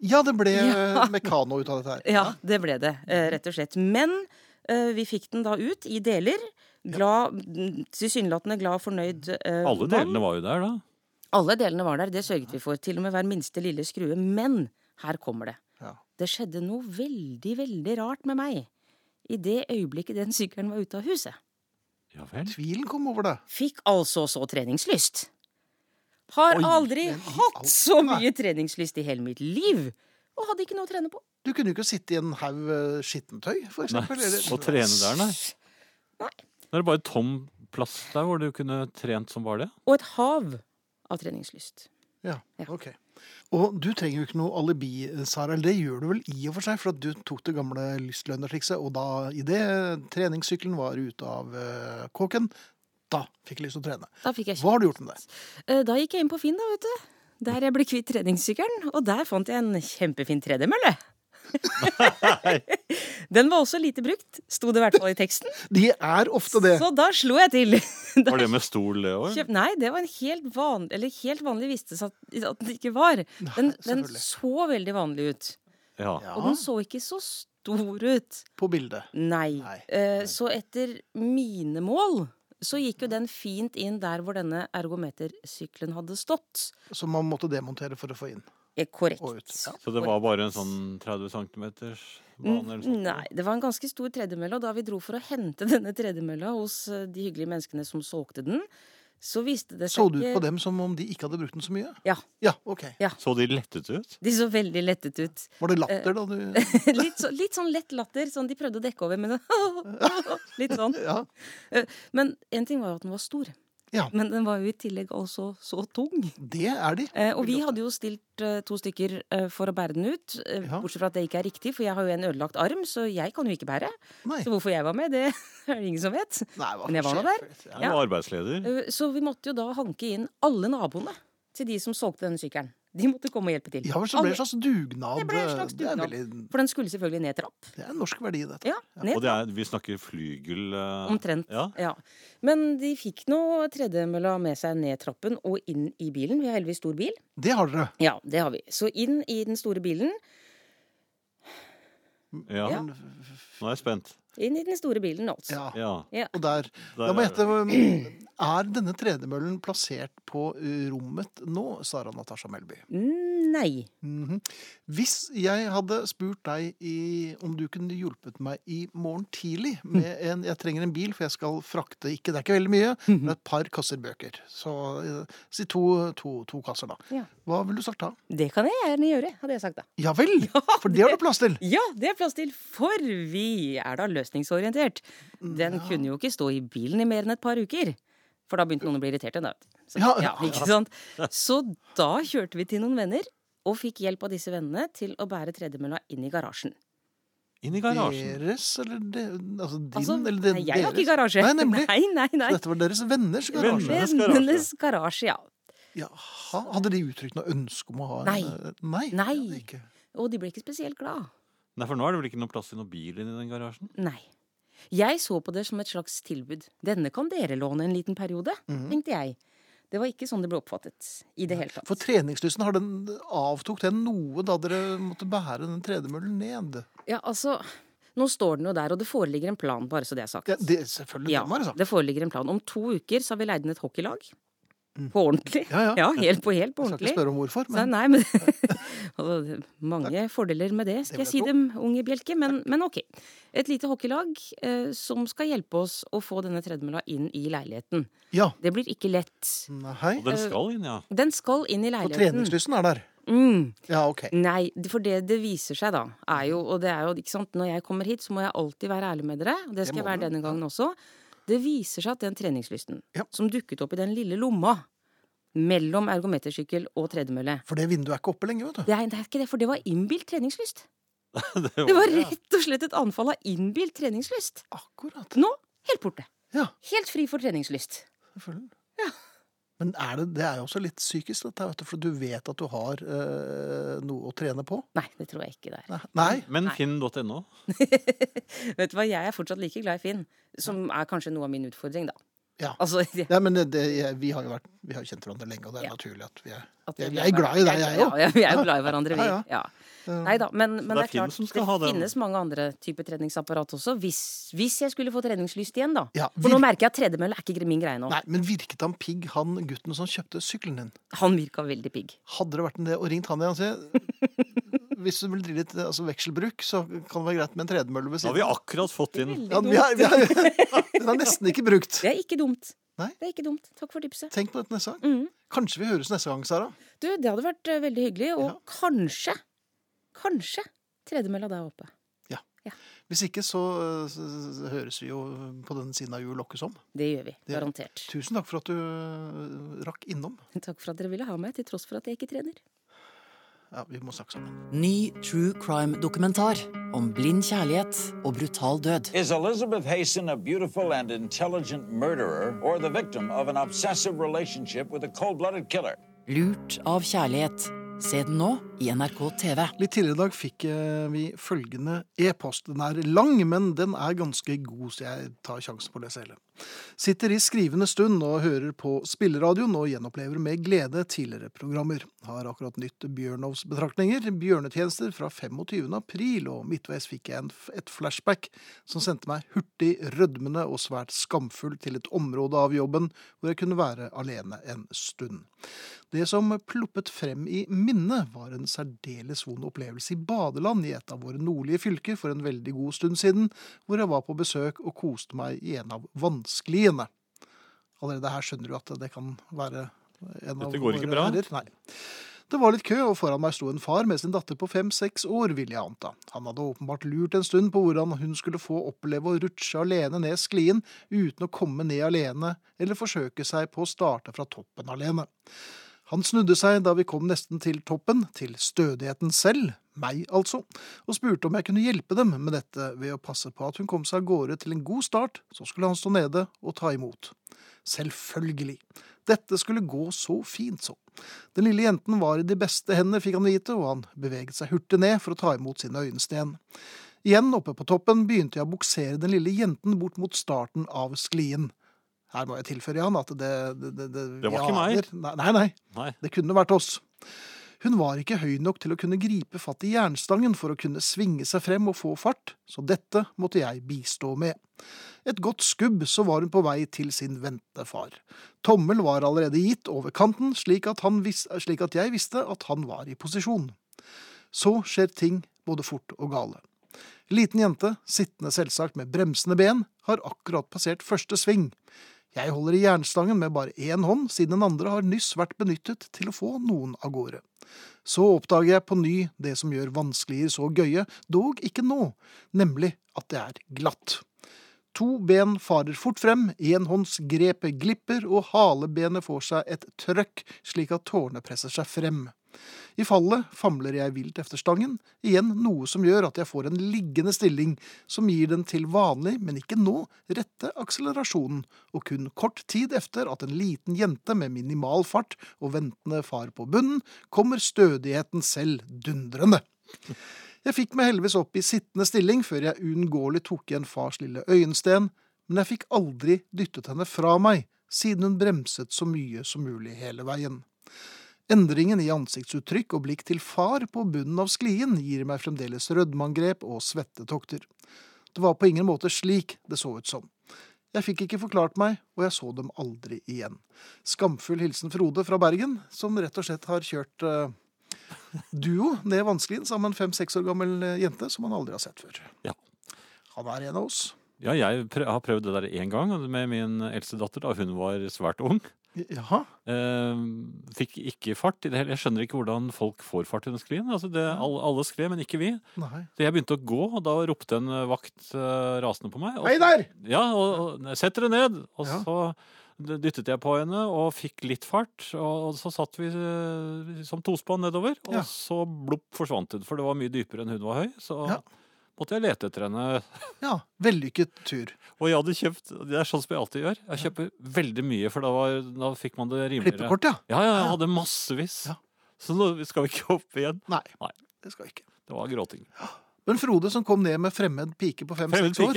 Speaker 2: Ja, det ble
Speaker 5: Ja.
Speaker 2: eh, mekano ut av dette her.
Speaker 5: Ja, det ble det, eh, rett og slett. Men eh, vi fikk den da ut i deler. Glad, Tilsynelatende glad og fornøyd eh,
Speaker 3: Alle
Speaker 5: mann.
Speaker 3: delene var jo der, da.
Speaker 5: Alle delene var der, det sørget vi for. Til og med hver minste lille skrue. Men her kommer det.
Speaker 2: Ja.
Speaker 5: Det skjedde noe veldig, veldig rart med meg i det øyeblikket den sykkelen var ute av huset.
Speaker 3: Ja vel.
Speaker 2: Tvilen kom over det.
Speaker 5: Fikk altså så treningslyst. Har
Speaker 3: Oi,
Speaker 5: aldri
Speaker 2: men i
Speaker 5: hatt
Speaker 2: all-
Speaker 5: så
Speaker 2: Nei.
Speaker 5: mye treningslyst i hele mitt liv! Og hadde ikke noe å trene på.
Speaker 2: Du kunne jo ikke sitte i en haug eh, skittentøy, for
Speaker 3: Nei,
Speaker 2: eksempel.
Speaker 3: å trene der, nei.
Speaker 5: Nei.
Speaker 3: Det er bare tom plass der hvor du kunne trent som var det.
Speaker 5: Og et hav av treningslyst.
Speaker 2: Ja,
Speaker 5: Ja.
Speaker 2: ok. Og du trenger jo ikke noe alibi, eh, Sara. Eller det gjør du vel i og for seg, for at du tok det gamle lystlønnertrikset, og da i det treningssykkelen var ute av eh, kåken, da fikk jeg lyst til å trene.
Speaker 5: Da fikk jeg
Speaker 2: Hva har du gjort med det?
Speaker 5: Eh, Da gikk jeg inn på Finn, da, vet du. Der jeg ble kvitt treningssykkelen. Og der fant jeg en kjempefin tredemølle. Den var også lite brukt, sto det i hvert fall i teksten.
Speaker 2: De er ofte det.
Speaker 5: Så da slo jeg til. Da
Speaker 3: Var det med stol, det òg?
Speaker 5: kjøp- nei, det var en helt vanlig Eller helt vanlig viste det seg at at den ikke var. Den, den
Speaker 2: selvfølgelig.
Speaker 5: så veldig vanlig ut.
Speaker 3: Ja.
Speaker 2: Ja,
Speaker 5: Og den så ikke så stor ut.
Speaker 2: på bildet.
Speaker 5: Nei.
Speaker 2: Nei.
Speaker 5: Eh, Så etter mine mål så gikk jo den fint inn der hvor denne ergometersykkelen hadde stått.
Speaker 2: Som man måtte demontere for å få inn.
Speaker 5: Eh, Korrekt.
Speaker 2: Og ut. Ja.
Speaker 3: Så det var bare en sånn 30 cm bane eller sånt?
Speaker 5: Nei, det var en ganske stor tredemølle, og da vi dro for å hente denne tredemølla hos eh, de hyggelige menneskene som solgte den, så viste det
Speaker 2: Så
Speaker 5: seg
Speaker 2: du ut
Speaker 5: ikke-
Speaker 2: på dem som om de ikke hadde brukt den så mye?
Speaker 5: Ja.
Speaker 2: Ja, ok.
Speaker 3: Så de lettet ut?
Speaker 5: De så veldig lettet ut.
Speaker 2: Var det
Speaker 5: Eh,
Speaker 2: latter da du
Speaker 5: Litt, så, litt sånn lett latter, sånn de prøvde å dekke over, men litt sånn.
Speaker 2: Ja.
Speaker 5: Men en ting var jo at den var stor.
Speaker 2: Ja.
Speaker 5: Men den var jo i tillegg også så tung.
Speaker 2: Det er de.
Speaker 5: Eh, og vi hadde jo stilt eh, to stykker eh, for å bære den ut, eh,
Speaker 2: Ja.
Speaker 5: bortsett fra at det ikke er riktig, for jeg har jo en ødelagt arm, så jeg kan jo ikke bære.
Speaker 2: Nei.
Speaker 5: Så hvorfor jeg var med, det er det ingen som vet.
Speaker 2: Nei hva
Speaker 5: Men jeg var nå
Speaker 2: skjer? Ja.
Speaker 3: Jeg var arbeidsleder.
Speaker 5: Eh, Så vi måtte jo da hanke inn alle naboene til de som solgte denne sykkelen. De måtte komme og hjelpe til.
Speaker 2: Ja, vel, så ble det en
Speaker 5: Alle-
Speaker 2: slags dugnad.
Speaker 5: Det ble en slags
Speaker 2: Det er,
Speaker 5: dugnad.
Speaker 2: veldig,
Speaker 5: For den skulle selvfølgelig ned trapp.
Speaker 2: det er en norsk verdi, dette.
Speaker 5: Ja, ned
Speaker 3: Og det er, vi snakker flygel eh,
Speaker 5: Omtrent.
Speaker 3: Ja.
Speaker 5: Ja. Men de fikk nå tredemølla med seg ned trappen og inn i bilen. Vi har heldigvis stor bil.
Speaker 2: Det har dere.
Speaker 5: Ja, det har vi. Så inn i den store bilen.
Speaker 3: Ja.
Speaker 5: Ja.
Speaker 3: Nå er jeg spent.
Speaker 5: Inn i den store bilen, altså.
Speaker 2: Ja.
Speaker 3: Ja.
Speaker 5: Ja.
Speaker 2: Og der,
Speaker 3: Der
Speaker 2: La meg
Speaker 3: er
Speaker 2: gjette, er denne tredemøllen plassert på eh, rommet nå, Sara Natasha Melby?
Speaker 5: Nei.
Speaker 2: Mhm. Hvis jeg hadde spurt deg i, om du kunne hjulpet meg i morgen tidlig med en Jeg trenger en bil, for jeg skal frakte ikke Det er ikke veldig mye, men et par kasser bøker. Så eh, si to, to, to kasser, da.
Speaker 5: Ja.
Speaker 2: Hva ville du sagt da?
Speaker 5: Det kan jeg gjerne gjøre, hadde jeg sagt da.
Speaker 2: Ja vel! For det har du plass til!
Speaker 5: Ja, det er plass til, for vi er da løsningsorientert. Den kunne jo ikke stå i bilen i mer enn et par uker. For da begynte noen å bli irritert igjen, da. Så,
Speaker 2: Ja,
Speaker 5: ja, ikke sant? Så da kjørte vi til noen venner, og fikk hjelp av disse vennene til å bære tredemølla inn i garasjen.
Speaker 3: Inn i garasjen.
Speaker 2: Deres eller de, altså din
Speaker 5: Altså,
Speaker 2: eller de,
Speaker 5: nei, jeg har ikke
Speaker 2: deres?
Speaker 5: garasje.
Speaker 2: Nei, nemlig.
Speaker 5: Nei, nei, nei.
Speaker 2: Dette var deres venners garasje.
Speaker 3: Venner. Vennenes garasje.
Speaker 5: Vennenes garasje, ja.
Speaker 2: Jaha, hadde de uttrykt noe ønske om å ha en
Speaker 5: Nei.
Speaker 2: eh, Nei. det
Speaker 5: Nei.
Speaker 2: hadde de ikke.
Speaker 5: Og de ble ikke spesielt glad.
Speaker 3: Nei, for nå er det vel ikke noe plass til noen bil inni den garasjen?
Speaker 5: Nei. Jeg så på det som et slags tilbud. Denne kan dere låne en liten periode,
Speaker 2: Mhm.
Speaker 5: tenkte jeg. Det var ikke sånn det ble oppfattet i det hele tatt.
Speaker 2: For treningslysten, har den, avtok den noe da dere måtte bære den tredemøllen ned?
Speaker 5: Ja, altså, nå står den jo der, og det foreligger en plan, bare så det er sagt.
Speaker 2: Ja, det, selvfølgelig,
Speaker 5: Ja,
Speaker 2: det må jeg ha sagt.
Speaker 5: det foreligger en plan. Om to uker så har vi leid inn et hockeylag. På ordentlig.
Speaker 2: Mm. Ja, ja.
Speaker 5: helt på helt på
Speaker 2: Jeg skal
Speaker 5: ordentlig.
Speaker 2: ikke spørre om hvorfor,
Speaker 5: Så,
Speaker 2: men
Speaker 5: nei, men, altså, det er mange fordeler med det, skal
Speaker 2: Det
Speaker 5: jeg si
Speaker 2: vil jeg
Speaker 5: dem, unge Bjelke. Men, men ok. Et lite hockeylag eh, som skal hjelpe oss å få denne tredemølla inn i leiligheten.
Speaker 2: ja.
Speaker 5: Det blir ikke lett.
Speaker 2: Nei.
Speaker 3: Og den skal inn, ja.
Speaker 5: Den skal inn i
Speaker 2: Og
Speaker 5: leiligheten.
Speaker 2: treningslysten er der.
Speaker 5: Mm.
Speaker 2: Ja, ok.
Speaker 5: Nei, det- for det det viser seg da, er jo, og det er jo, ikke sant, når jeg kommer hit, så må jeg alltid være ærlig med dere, og det skal
Speaker 2: må
Speaker 5: jeg
Speaker 2: du,
Speaker 5: være denne gangen også. Det viser seg at den treningslysten
Speaker 2: Ja.
Speaker 5: som dukket opp i den lille lomma mellom ergometersykkel og tredemølle
Speaker 2: For det vinduet er ikke oppe lenge, vet du.
Speaker 5: det er, det er ikke det, for det var innbilt treningslyst.
Speaker 3: Det
Speaker 5: Det var rett og slett et anfall av innbilt treningslyst.
Speaker 2: Akkurat.
Speaker 5: Nå helt borte.
Speaker 2: Ja,
Speaker 5: Helt fri for treningslyst.
Speaker 2: selvfølgelig. Men er det, det er jo også litt psykisk, dette, vet du, for du vet at du har eh, noe å trene på.
Speaker 5: Nei, det tror jeg ikke det er.
Speaker 2: Nei. Nei.
Speaker 3: Men finn.no.
Speaker 5: Vet du hva, jeg er fortsatt like glad i Finn, som er kanskje noe av min utfordring, da.
Speaker 2: Ja.
Speaker 5: Altså, jeg-
Speaker 2: Nei, men det, det, jeg- vi har jo vært, vi har jo kjent hverandre lenge, og det er
Speaker 5: Ja.
Speaker 2: naturlig at vi er
Speaker 5: at
Speaker 2: Jeg,
Speaker 5: vi
Speaker 2: jeg er glad i deg, jeg
Speaker 5: Ja,
Speaker 2: òg.
Speaker 5: ja, vi er jo glad i hverandre, vi.
Speaker 2: Ja, ja.
Speaker 5: Ja. Nei da, men, men det
Speaker 3: det
Speaker 5: er
Speaker 3: er Finn
Speaker 5: klart,
Speaker 3: som
Speaker 5: det,
Speaker 3: skal ha den.
Speaker 5: finnes mange andre typer treningsapparat også. Hvis, hvis jeg skulle få treningslyst igjen, da.
Speaker 2: Ja,
Speaker 5: For nå
Speaker 2: vir-
Speaker 5: merker jeg at tredemølle er ikke gre- min greie nå.
Speaker 2: Nei, men virket han pigg, han gutten som kjøpte sykkelen din?
Speaker 5: Han virka veldig pigg.
Speaker 2: Hadde det vært en det, og ringt han igjen og si Hvis du vil drive litt eh, altså, vekselbruk, så kan det være greit med en tredemølle ved
Speaker 3: Da har vi
Speaker 2: siden
Speaker 3: akkurat fått inn
Speaker 2: Ja, vi har, vi har, den er nesten ikke brukt.
Speaker 5: Det er ikke dumt.
Speaker 2: Nei.
Speaker 5: Det er ikke dumt. Takk for tipset.
Speaker 2: Tenk på dette neste gang.
Speaker 5: Mm.
Speaker 2: Kanskje vi høres neste gang, Sara.
Speaker 5: Du, det hadde vært eh, veldig hyggelig, og
Speaker 2: Ja.
Speaker 5: kanskje, kanskje tredemølla der oppe.
Speaker 2: Hvis ikke, så, eh, så, så høres vi jo på den siden av jul lokkes om.
Speaker 5: Det gjør vi.
Speaker 2: Det-
Speaker 5: Garantert.
Speaker 2: Tusen takk for at du eh, rakk innom.
Speaker 5: Takk for at dere ville ha meg, til tross for at jeg ikke trener.
Speaker 2: Ja, vi må snakke sammen.
Speaker 6: Ny true crime-dokumentar om blind kjærlighet og brutal død.
Speaker 7: Is Elizabeth Hasten a beautiful and intelligent murderer or the victim of an obsessive relationship with a cold blooded killer?
Speaker 6: Lurt av kjærlighet. Se den nå i NRK TV.
Speaker 2: Litt tidligere i dag fikk eh, vi følgende e-post. Den er lang, men den er ganske god, så jeg tar sjansen på å lese hele. Sitter i skrivende stund og hører på spilleradioen og gjenopplever med glede tidligere programmer. Har akkurat nytt Bjørnovs betraktninger, bjørnetjenester fra 25. april, og midtveis fikk jeg en, f- et flashback som sendte meg hurtig, rødmende og svært skamfull til et område av jobben hvor jeg kunne være alene en stund. Det som ploppet frem i minnet, var en særdeles vond opplevelse i badeland i et av våre nordlige fylker for en veldig god stund siden, hvor jeg var på besøk og koste meg i en av vanskeliene. Allerede her skjønner du at det kan være en av
Speaker 3: Dette går ikke
Speaker 2: våre
Speaker 3: bra.
Speaker 2: ærer. Nei. Det var litt kø, og foran meg sto en far med sin datter på fem-seks år, vil jeg anta. Han hadde åpenbart lurt en stund på hvordan hun skulle få oppleve å rutsje alene ned sklien uten å komme ned alene, eller forsøke seg på å starte fra toppen alene. Han snudde seg da vi kom nesten til toppen, til stødigheten selv, meg altså, og spurte om jeg kunne hjelpe dem med dette ved å passe på at hun kom seg av gårde til en god start, så skulle han stå nede og ta imot. Selvfølgelig. Dette skulle gå så fint, så. Den lille jenten var i de beste hender, fikk han vite, og han beveget seg hurtig ned for å ta imot sine øyensten. Igjen oppe på toppen begynte jeg å buksere den lille jenten bort mot starten av sklien. Her må jeg tilføre Jan at det Det, det,
Speaker 3: Det var
Speaker 2: vi
Speaker 3: ikke meg.
Speaker 2: aner- Nei, nei, nei.
Speaker 3: Nei.
Speaker 2: Det kunne vært oss. Hun var ikke høy nok til å kunne gripe fatt i jernstangen for å kunne svinge seg frem og få fart, så dette måtte jeg bistå med. Et godt skubb så var hun på vei til sin ventende far. Tommel var allerede gitt over kanten, slik at, han vis slik at jeg visste at han var i posisjon. Så skjer ting både fort og gale. Liten jente, sittende selvsagt med bremsende ben, har akkurat passert første sving. Jeg holder i jernstangen med bare én hånd, siden den andre har nyss vært benyttet til å få noen av gårde. Så oppdager jeg på ny det som gjør vanskelier så gøye, dog ikke nå, nemlig at det er glatt. To ben farer fort frem, enhåndsgrepet glipper, og halebenet får seg et trøkk slik at tårene presser seg frem. I fallet famler jeg vilt efter stangen, igjen noe som gjør at jeg får en liggende stilling som gir den til vanlig, men ikke nå, rette akselerasjonen, og kun kort tid efter at en liten jente med minimal fart og ventende far på bunnen, kommer stødigheten selv dundrende. Jeg fikk meg heldigvis opp i sittende stilling før jeg uunngåelig tok igjen fars lille øyensten, men jeg fikk aldri dyttet henne fra meg, siden hun bremset så mye som mulig hele veien. Endringen i ansiktsuttrykk og blikk til far på bunnen av sklien gir meg fremdeles rødmangrep og svettetokter. Det var på ingen måte slik det så ut som. Jeg fikk ikke forklart meg, og jeg så dem aldri igjen. Skamfull hilsen Frode fra Bergen, som rett og slett har kjørt eh, duo ned vanskelien sammen med en fem-seks år gammel eh, jente som han aldri har sett før.
Speaker 3: Ja.
Speaker 2: Han er en av oss.
Speaker 3: Ja, jeg prø har prøvd det der én gang med min eldste datter da hun var svært ung.
Speaker 2: Jaha.
Speaker 3: Eh, fikk ikke fart i det hele. Jeg skjønner ikke hvordan folk får fart i den sklien. Altså det, alle, alle skred, men ikke vi.
Speaker 2: Nei.
Speaker 3: Så jeg begynte å gå, og da ropte en eh, vakt eh, rasende på meg. Og,
Speaker 2: Hei der!
Speaker 3: Ja, og, og sett dere ned! Og
Speaker 2: Ja.
Speaker 3: så dyttet jeg på henne og fikk litt fart, og, og så satt vi eh, som tospann nedover, og
Speaker 2: Ja.
Speaker 3: så blopp forsvant hun, for det var mye dypere enn hun var høy. Så
Speaker 2: Ja.
Speaker 3: måtte jeg lete etter henne.
Speaker 2: Ja, vellykket tur.
Speaker 3: Og jeg hadde kjøpt Det er sånn som jeg alltid gjør. Jeg kjøper veldig mye, for da, var, da fikk man det rimeligere.
Speaker 2: Klippekort, ja.
Speaker 3: Ja, ja, jeg hadde massevis.
Speaker 2: Ja.
Speaker 3: Så nå skal vi ikke opp igjen.
Speaker 2: Nei,
Speaker 3: Nei.
Speaker 2: det skal jeg ikke.
Speaker 3: Det var gråting.
Speaker 2: Men Frode som kom ned med fremmed pike på
Speaker 3: Fremmed
Speaker 2: fem-seks år,
Speaker 3: pike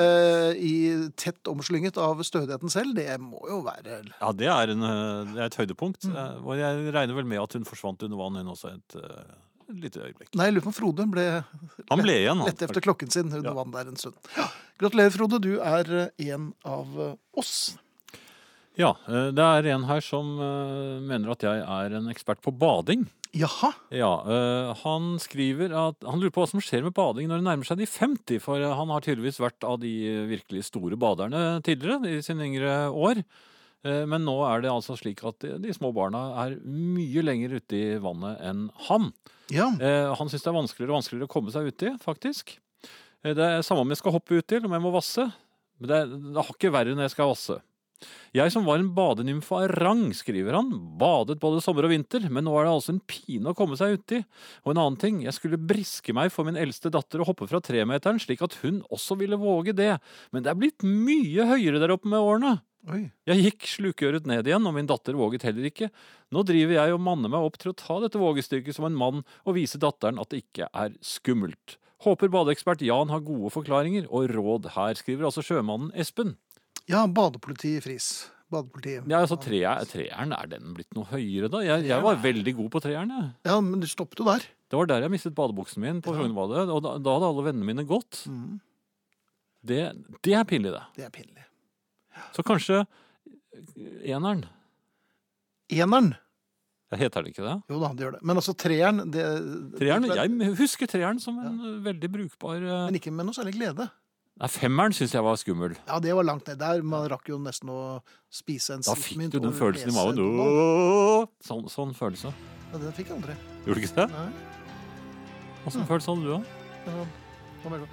Speaker 2: eh, eh, i tett omslynget av stødigheten selv, det må jo være
Speaker 3: Ja, det er, en, eh, det er et høydepunkt. eh, Og jeg regner vel med at hun forsvant under vann, hun også, et eh, lite øyeblikk.
Speaker 2: Nei, jeg lurer på om Frode ble
Speaker 3: Han ble igjen, han.
Speaker 2: lett efter klokken sin under
Speaker 3: Ja.
Speaker 2: vann der en stund. Ja. Gratulerer, Frode. Du er eh, en av eh, oss.
Speaker 3: Ja, eh, Det er en her som eh, mener at jeg er en ekspert på bading.
Speaker 2: Jaha.
Speaker 3: Ja, eh, Han skriver at han lurer på hva som skjer med bading når det nærmer seg de 50, for eh, han har tydeligvis vært av de eh, virkelig store baderne tidligere i sine yngre år. Eh, Men nå er det altså slik at de- de små barna er mye lenger ute i vannet enn han.
Speaker 2: Ja.
Speaker 3: Eh, Han syns det er vanskeligere og vanskeligere å komme seg uti, faktisk. Eh, Det er samme om jeg skal hoppe uti eller om jeg må vasse. Men det er det er hakket verre når jeg skal vasse. Jeg som var en badenymfe av rang, skriver han, badet både sommer og vinter, men nå er det altså en pine å komme seg uti. Og en annen ting, jeg skulle briske meg for min eldste datter å hoppe fra tremeteren slik at hun også ville våge det, men det er blitt mye høyere der oppe med årene.
Speaker 2: Oi.
Speaker 3: Jeg gikk slukøret ned igjen, og min datter våget heller ikke. Nå driver jeg og manner meg opp til å ta dette vågestykket som en mann og vise datteren at det ikke er skummelt. Håper badeekspert Jan har gode forklaringer og råd her, skriver altså sjømannen Espen.
Speaker 2: Ja, badepoliti Friis. Badepolitiet.
Speaker 3: Ja, altså tre, Treeren, er den blitt noe høyere, da? Jeg, jeg var veldig god på treeren, jeg.
Speaker 2: Ja, men du stoppet jo der.
Speaker 3: Det var der jeg mistet badebuksen min på Frognerbadet, og da, da hadde alle vennene mine gått. Det, det er pinlig, det.
Speaker 2: Det er pinlig.
Speaker 3: Så kanskje eh, eneren
Speaker 2: Eneren.
Speaker 3: Jeg Heter den ikke det?
Speaker 2: Jo da, det gjør det. Men altså treeren det,
Speaker 3: Treeren, Jeg husker treeren som en eh, veldig brukbar eh,
Speaker 2: Men ikke med noe særlig glede.
Speaker 3: Nei, Femmeren syns jeg var skummel.
Speaker 2: Ja, det var langt ned der. Man rakk jo nesten å spise en
Speaker 3: Da fikk
Speaker 2: siftmynt
Speaker 3: du den
Speaker 2: og
Speaker 3: følelsen i
Speaker 2: lese
Speaker 3: magen.
Speaker 2: en ball.
Speaker 3: Åh! Sånn, sånn følelse.
Speaker 2: Ja, den fikk jeg aldri.
Speaker 3: Gjorde du ikke det?
Speaker 2: Nei.
Speaker 3: Åssen følelse hadde du,
Speaker 2: Ja,
Speaker 3: da?
Speaker 2: da var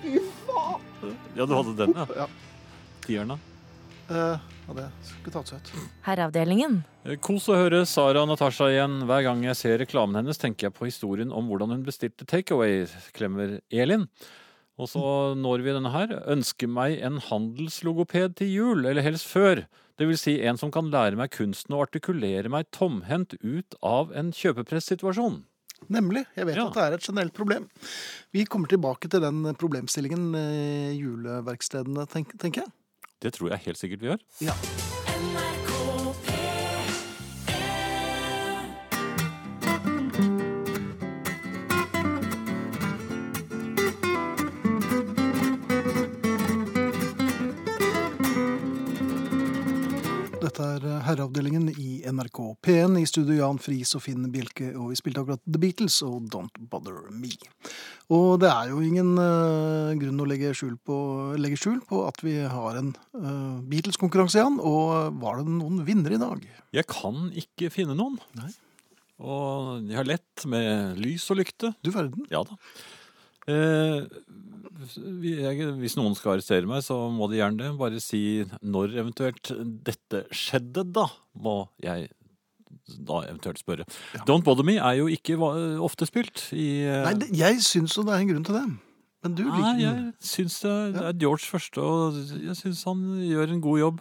Speaker 2: sånn, det godt.
Speaker 3: Ja, du hadde den, ja.
Speaker 2: Ja.
Speaker 3: Tieren, da.
Speaker 2: Eh, ja, det skulle tatt seg ut.
Speaker 8: Herreavdelingen.
Speaker 3: Eh, Kos å høre Sara Natasha igjen. Hver gang jeg ser reklamen hennes, tenker jeg på historien om hvordan hun bestilte takeaway, klemmer Elin. Og så når vi denne her. Ønsker meg en handelslogoped til jul, eller helst før. Det vil si en som kan lære meg kunsten å artikulere meg tomhendt ut av en kjøpepressituasjon.
Speaker 2: Nemlig. Jeg vet
Speaker 3: Ja.
Speaker 2: at det er et generelt problem. Vi kommer tilbake til den problemstillingen i juleverkstedene, tenk, tenker jeg.
Speaker 3: Det tror jeg helt sikkert vi gjør.
Speaker 2: Ja. Dette er eh, Herreavdelingen i NRK P1. I studio Jan Friis og Finn Bjelke, og vi spilte akkurat The Beatles og Don't Bother Me. Og det er jo ingen eh, grunn å legge skjul, på, legge skjul på at vi har en eh, Beatles-konkurranse igjen, og eh, var det noen vinnere i dag?
Speaker 3: Jeg kan ikke finne noen.
Speaker 2: Nei.
Speaker 3: Og jeg har lett med lys og lykte.
Speaker 2: Du verden.
Speaker 3: Ja da. Eh, vi- jeg, hvis noen skal arrestere meg, så må de gjerne det. Bare si når eventuelt dette skjedde, da, må jeg da eventuelt spørre. Don't Bother Me er jo ikke va- ofte spilt i eh,
Speaker 2: Nei, det, jeg syns jo det er en grunn til det. Men du liker
Speaker 3: Nei,
Speaker 2: den.
Speaker 3: jeg syns det det er George første, og jeg syns han gjør en god jobb.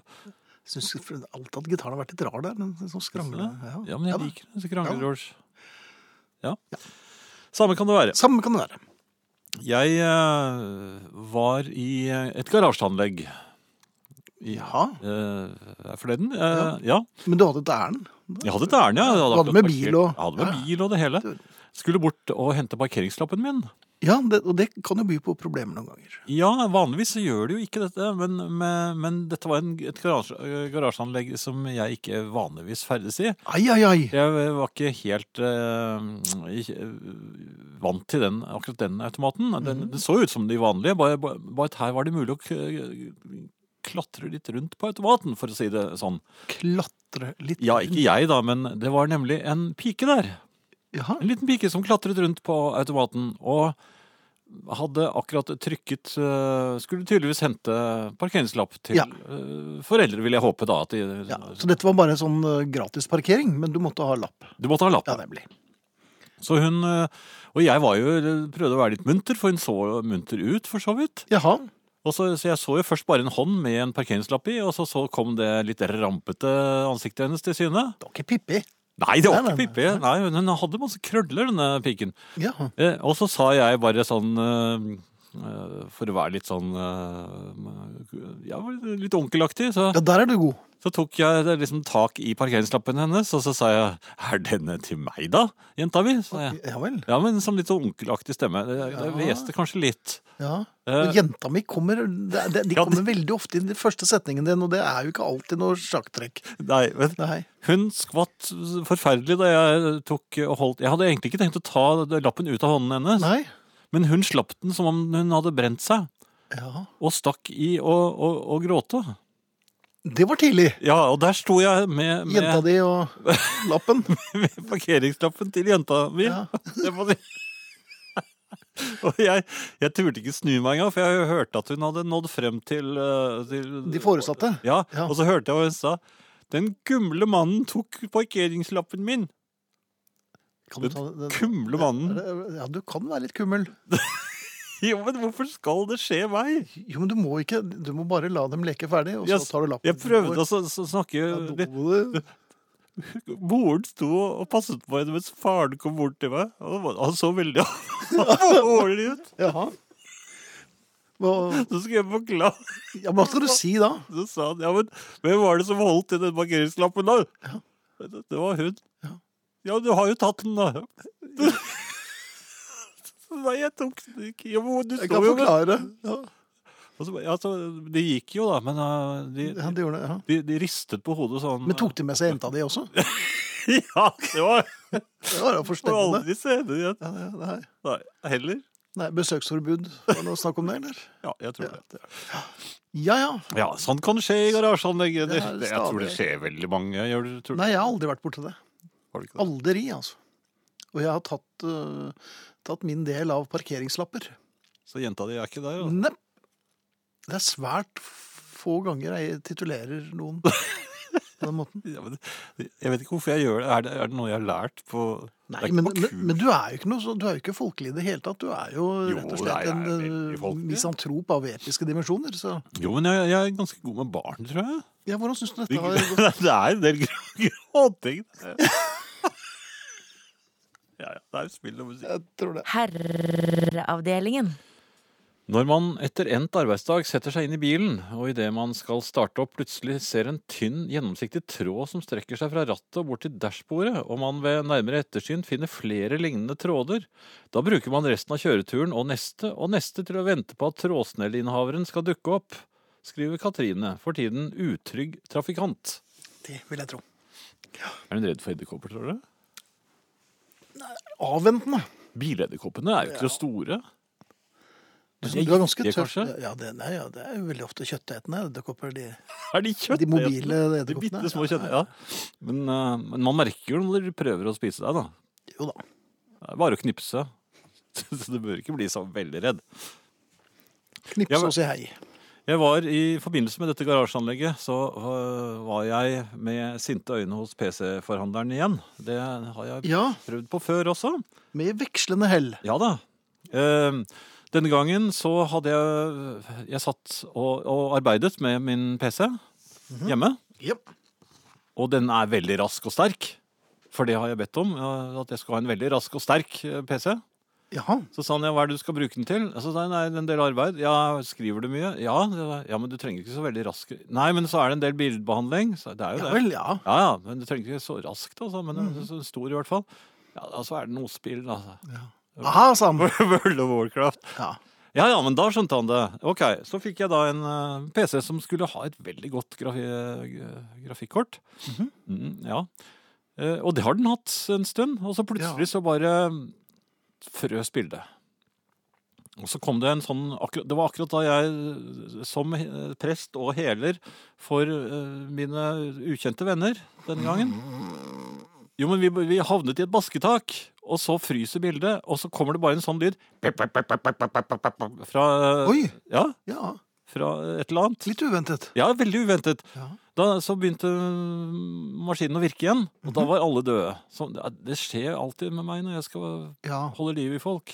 Speaker 2: Jeg syns alltid at gitaren har vært litt rar der. Den er sånn skrangle.
Speaker 3: Ja, men jeg
Speaker 2: da.
Speaker 3: liker det. Så krangler
Speaker 2: Ja.
Speaker 3: George. Ja. Samme kan det være.
Speaker 2: Samme kan det være.
Speaker 3: Jeg eh, var i eh, et garasjeanlegg
Speaker 2: Ja.
Speaker 3: eh, forleden. Eh, ja.
Speaker 2: Men du hadde et ærend.
Speaker 3: Jeg hadde et ærend, ja. Jeg
Speaker 2: Du hadde med
Speaker 3: akkurat
Speaker 2: bil
Speaker 3: parkert-
Speaker 2: og-
Speaker 3: Jeg hadde med
Speaker 2: Ja, ja.
Speaker 3: bil og det hele. Skulle bort og hente parkeringslappen min.
Speaker 2: Ja, det, og det kan jo by på problemer noen ganger.
Speaker 3: Ja, vanligvis så gjør det jo ikke dette, men, men, men dette var en, et garasje, garasjeanlegg som jeg ikke vanligvis ferdes i.
Speaker 2: Ai, ai, ai.
Speaker 3: Jeg var ikke helt eh, ikke, eh, vant til den,
Speaker 2: Mhm.
Speaker 3: akkurat den automaten. Den, den så ut som de vanlige, bare, bare bare at her var det mulig å k- klatre litt rundt på automaten, for å si det sånn.
Speaker 2: Klatre litt
Speaker 3: Ja, ikke jeg da, men det var nemlig en pike der.
Speaker 2: Jaha.
Speaker 3: En liten pike som klatret rundt på automaten og hadde akkurat trykket eh, Skulle tydeligvis hente parkeringslapp til
Speaker 2: Ja.
Speaker 3: eh, foreldre, vil jeg håpe da. At de,
Speaker 2: Ja, så dette var bare en sånn eh, gratis parkering, men du måtte ha lapp.
Speaker 3: Du måtte ha lapp.
Speaker 2: Ja, nemlig.
Speaker 3: Så hun eh, Og jeg var jo, prøvde å være litt munter, for hun så munter ut, for så vidt.
Speaker 2: Jaha.
Speaker 3: Og så, så jeg så jo først bare en hånd med en parkeringslapp i, og så, så kom det litt rampete ansiktet hennes til syne.
Speaker 2: Det var ikke Pippi.
Speaker 3: Nei, det var
Speaker 2: Nei,
Speaker 3: ikke
Speaker 2: nei,
Speaker 3: Pippi. Nei, hun- hun hadde masse krøller, denne piken.
Speaker 2: Ja.
Speaker 3: Eh, og så sa jeg bare sånn eh, eh, For å være litt sånn eh, Ja, litt onkelaktig, så,
Speaker 2: ja, der er du god.
Speaker 3: så tok jeg liksom tak i parkeringslappen hennes, og så sa jeg 'Er denne til meg, da, jenta mi?' sa jeg.
Speaker 2: Ja vel.
Speaker 3: Ja, men som litt sånn onkelaktig stemme. Det, det hveste kanskje litt.
Speaker 2: Ja.
Speaker 3: Eh.
Speaker 2: Og jenta mi kommer De, de, de
Speaker 3: Ja,
Speaker 2: kommer veldig ofte inn i de første setningen din, og det er jo ikke alltid noe sjakktrekk.
Speaker 3: Nei, men
Speaker 2: Nei.
Speaker 3: Hun skvatt forferdelig da jeg tok og holdt Jeg hadde egentlig ikke tenkt å ta lappen ut av hånden hennes,
Speaker 2: Nei.
Speaker 3: men hun slapp den som om hun hadde brent seg,
Speaker 2: Ja.
Speaker 3: og stakk i å, å, å gråte.
Speaker 2: Det var tidlig.
Speaker 3: Ja, og der sto jeg med,
Speaker 2: Jenta
Speaker 3: med,
Speaker 2: di og lappen.
Speaker 3: med parkeringslappen til jenta mi.
Speaker 2: Ja.
Speaker 3: Det må jeg si. Og jeg, jeg turte ikke snu meg engang, for jeg hørte at hun hadde nådd frem til, eh, til
Speaker 2: De foresatte.
Speaker 3: Ja,
Speaker 2: Ja.
Speaker 3: og så hørte jeg hva hun sa. Den gumle mannen tok parkeringslappen min.
Speaker 2: Kan du
Speaker 3: Den
Speaker 2: ta den?
Speaker 3: kumle mannen.
Speaker 2: Ja, du kan være litt kummel.
Speaker 3: Jo, men hvorfor skal det skje meg?
Speaker 2: Jo, men du må ikke Du må bare la dem leke ferdig, og så
Speaker 3: Jeg-
Speaker 2: tar du lappen.
Speaker 3: Jeg prøvde å så- så snakke litt.
Speaker 2: snakke
Speaker 3: Moren sto og passet på henne mens faren kom bort til meg. Og han var- han så veldig alvorlig ut.
Speaker 2: Jaha. Hva,
Speaker 3: Så skulle jeg forklare.
Speaker 2: ja, men hva skal du si da?
Speaker 3: Så sa han ja, men hvem var det som holdt i den parkeringslappen da? Det, det var hun. Ja, du har jo tatt den, da. Nei, jeg tok den ikke. Jo, men du
Speaker 2: Jeg
Speaker 3: sto
Speaker 2: kan
Speaker 3: jo med
Speaker 2: forklare. Ja,
Speaker 3: Og så, ja, så de gikk jo, da, men eh,
Speaker 2: ja,
Speaker 3: de,
Speaker 2: det gjorde det, ja.
Speaker 3: de, de ristet på hodet sånn. eh,
Speaker 2: Men tok de med seg jenta di også?
Speaker 3: Ja, det var
Speaker 2: Det var da
Speaker 3: Får
Speaker 2: forstemmende.
Speaker 3: aldri se det igjen.
Speaker 2: Ja, ja, nei.
Speaker 3: Nei, heller.
Speaker 2: nei, besøksforbud. Var det noe snakk om det, eller?
Speaker 3: Ja, jeg tror
Speaker 2: Ja,
Speaker 3: det.
Speaker 2: det- Ja ja.
Speaker 3: Ja, sånt kan skje i garasjeanlegg. Det,
Speaker 2: Det er
Speaker 3: det, jeg tror det
Speaker 2: stadig.
Speaker 3: skjer veldig mange. Gjør du, tror, du?
Speaker 2: Nei, jeg har aldri vært borti det.
Speaker 3: Har du ikke det?
Speaker 2: Aldri, altså. Og jeg har tatt, øh, tatt min del av parkeringslapper.
Speaker 3: Så jenta di er ikke der? altså. da?
Speaker 2: Nepp. Det er svært få ganger jeg titulerer noen på den måten.
Speaker 3: Ja, men, jeg vet ikke hvorfor jeg gjør det. Er det, er det noe jeg har lært på
Speaker 2: Nei,
Speaker 3: det er ikke
Speaker 2: men,
Speaker 3: noe
Speaker 2: men,
Speaker 3: kult.
Speaker 2: men du er jo ikke noe, så- du er jo ikke folkelig i det hele tatt. Du er jo
Speaker 3: Jo,
Speaker 2: rett og
Speaker 3: nei,
Speaker 2: slett
Speaker 3: jeg er
Speaker 2: en
Speaker 3: veldig
Speaker 2: øh,
Speaker 3: folkelig.
Speaker 2: misantrop av episke dimensjoner. Så
Speaker 3: Jo, men jeg, jeg er ganske god med barn, tror jeg.
Speaker 2: ja, hvordan syns du
Speaker 3: Det,
Speaker 2: dette har gått?
Speaker 3: det er en del grå- gråting. Ja, ja. Det er spill og musikk.
Speaker 2: Jeg tror det.
Speaker 8: Herreavdelingen.
Speaker 3: Når man etter endt arbeidsdag setter seg inn i bilen, og idet man skal starte opp, plutselig ser en tynn, gjennomsiktig tråd som strekker seg fra rattet og bort til dashbordet, og man ved nærmere ettersyn finner flere lignende tråder, da bruker man resten av kjøreturen og neste og neste til å vente på at trådsnelleinnehaveren skal dukke opp, skriver Katrine, for tiden utrygg trafikant.
Speaker 2: Det vil jeg tro.
Speaker 3: Er hun redd for edderkopper, tror du?
Speaker 2: Avventende.
Speaker 3: Biledderkoppene er jo ikke så store.
Speaker 2: Du,
Speaker 3: de er
Speaker 2: du er ganske
Speaker 3: giftige,
Speaker 2: tøff.
Speaker 3: kanskje?
Speaker 2: Ja, det, nei, ja, det er jo veldig ofte kjøttetende edderkopper. De,
Speaker 3: Er de kjøttetende?
Speaker 2: de mobile
Speaker 3: De
Speaker 2: edderkoppene.
Speaker 3: bitte små kjøtt, ja. Men, eh, men man merker jo når de prøver å spise deg, da.
Speaker 2: Ja, jo da.
Speaker 3: Det er bare å knipse. Så du bør ikke bli så veldig redd. Ja,
Speaker 2: Knipse
Speaker 3: men-
Speaker 2: og si hei.
Speaker 3: Jeg var I forbindelse med dette garasjeanlegget så øh, var jeg med sinte øyne hos PC-forhandleren igjen. Det har jeg
Speaker 2: Ja,
Speaker 3: prøvd på før også.
Speaker 2: med vekslende hell.
Speaker 3: Ja da. Eh, denne gangen så hadde jeg Jeg satt og, og arbeidet med min PC
Speaker 2: Mhm.
Speaker 3: hjemme.
Speaker 2: Jep.
Speaker 3: Og den er veldig rask og sterk. For det har jeg bedt om. eh, At jeg skal ha en veldig rask og sterk eh, PC.
Speaker 2: Jaha.
Speaker 3: Så sa han, ja, hva er det du skal bruke den til? Så sa han, nei, det er en del arbeid. Ja, skriver du mye? Ja, det var- ja men du trenger ikke så veldig rask. Nei, men så er det en del bildebehandling. Så det er jo
Speaker 2: Ja
Speaker 3: det.
Speaker 2: vel, Mhm. ja.
Speaker 3: Ja, ja, men du trenger ikke så raskt, altså. Men det er så stor i hvert fall. Ja, og så er det noe spill, altså.
Speaker 2: Aha, sa han.
Speaker 3: World of Warcraft.
Speaker 2: Ja.
Speaker 3: Ja, ja, men da skjønte han det. Ok, så fikk jeg da en eh, PC som skulle ha et veldig godt grafi eh, grafikkort. Mm, ja. Eh, og det har den hatt en stund, og så plutselig så bare frøs bildet. Og så kom det en sånn akkurat, Det var akkurat da jeg som eh, prest og heler for eh, mine ukjente venner denne gangen Jo, men vi, vi havnet i et basketak, og så fryser bildet, og så kommer det bare en sånn lyd pep, pep, pep, pep, pep, pep, pep, pep, Fra eh,
Speaker 2: Oi!
Speaker 3: Ja,
Speaker 2: Ja,
Speaker 3: fra et eller annet.
Speaker 2: litt uventet.
Speaker 3: Ja, veldig uventet.
Speaker 2: Ja.
Speaker 3: Da så begynte mm, maskinen å virke igjen, og
Speaker 2: Mhm.
Speaker 3: da var alle døde. Så, ja, det skjer alltid med meg når jeg skal
Speaker 2: Ja,
Speaker 3: holde liv i folk.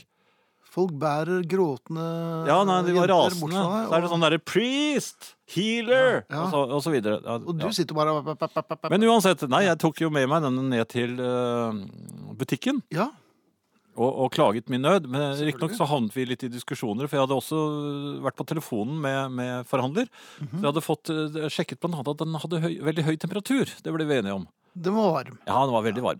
Speaker 2: folk bærer gråtende
Speaker 3: Ja, nei, de var
Speaker 2: jenter bort
Speaker 3: rasende.
Speaker 2: fra deg,
Speaker 3: Så er det
Speaker 2: og-
Speaker 3: sånn derre priest, healer,
Speaker 2: Ja, ja.
Speaker 3: Og, så, og så videre. Ja,
Speaker 2: Og du
Speaker 3: sånn- ja.
Speaker 2: sitter bare og-
Speaker 3: Men uansett, nei, jeg tok jo med meg denne ned til eh, butikken
Speaker 2: Ja,
Speaker 3: og, og klaget min nød. Men
Speaker 2: Selvfølgelig.
Speaker 3: riktignok så havnet vi litt i diskusjoner, for jeg hadde også vært på telefonen med, med forhandler. Så jeg hadde fått eh, sjekket blant annet at den hadde høy, veldig høy temperatur. Det ble vi enige om.
Speaker 2: den var varm.
Speaker 3: Ja, den var veldig varm.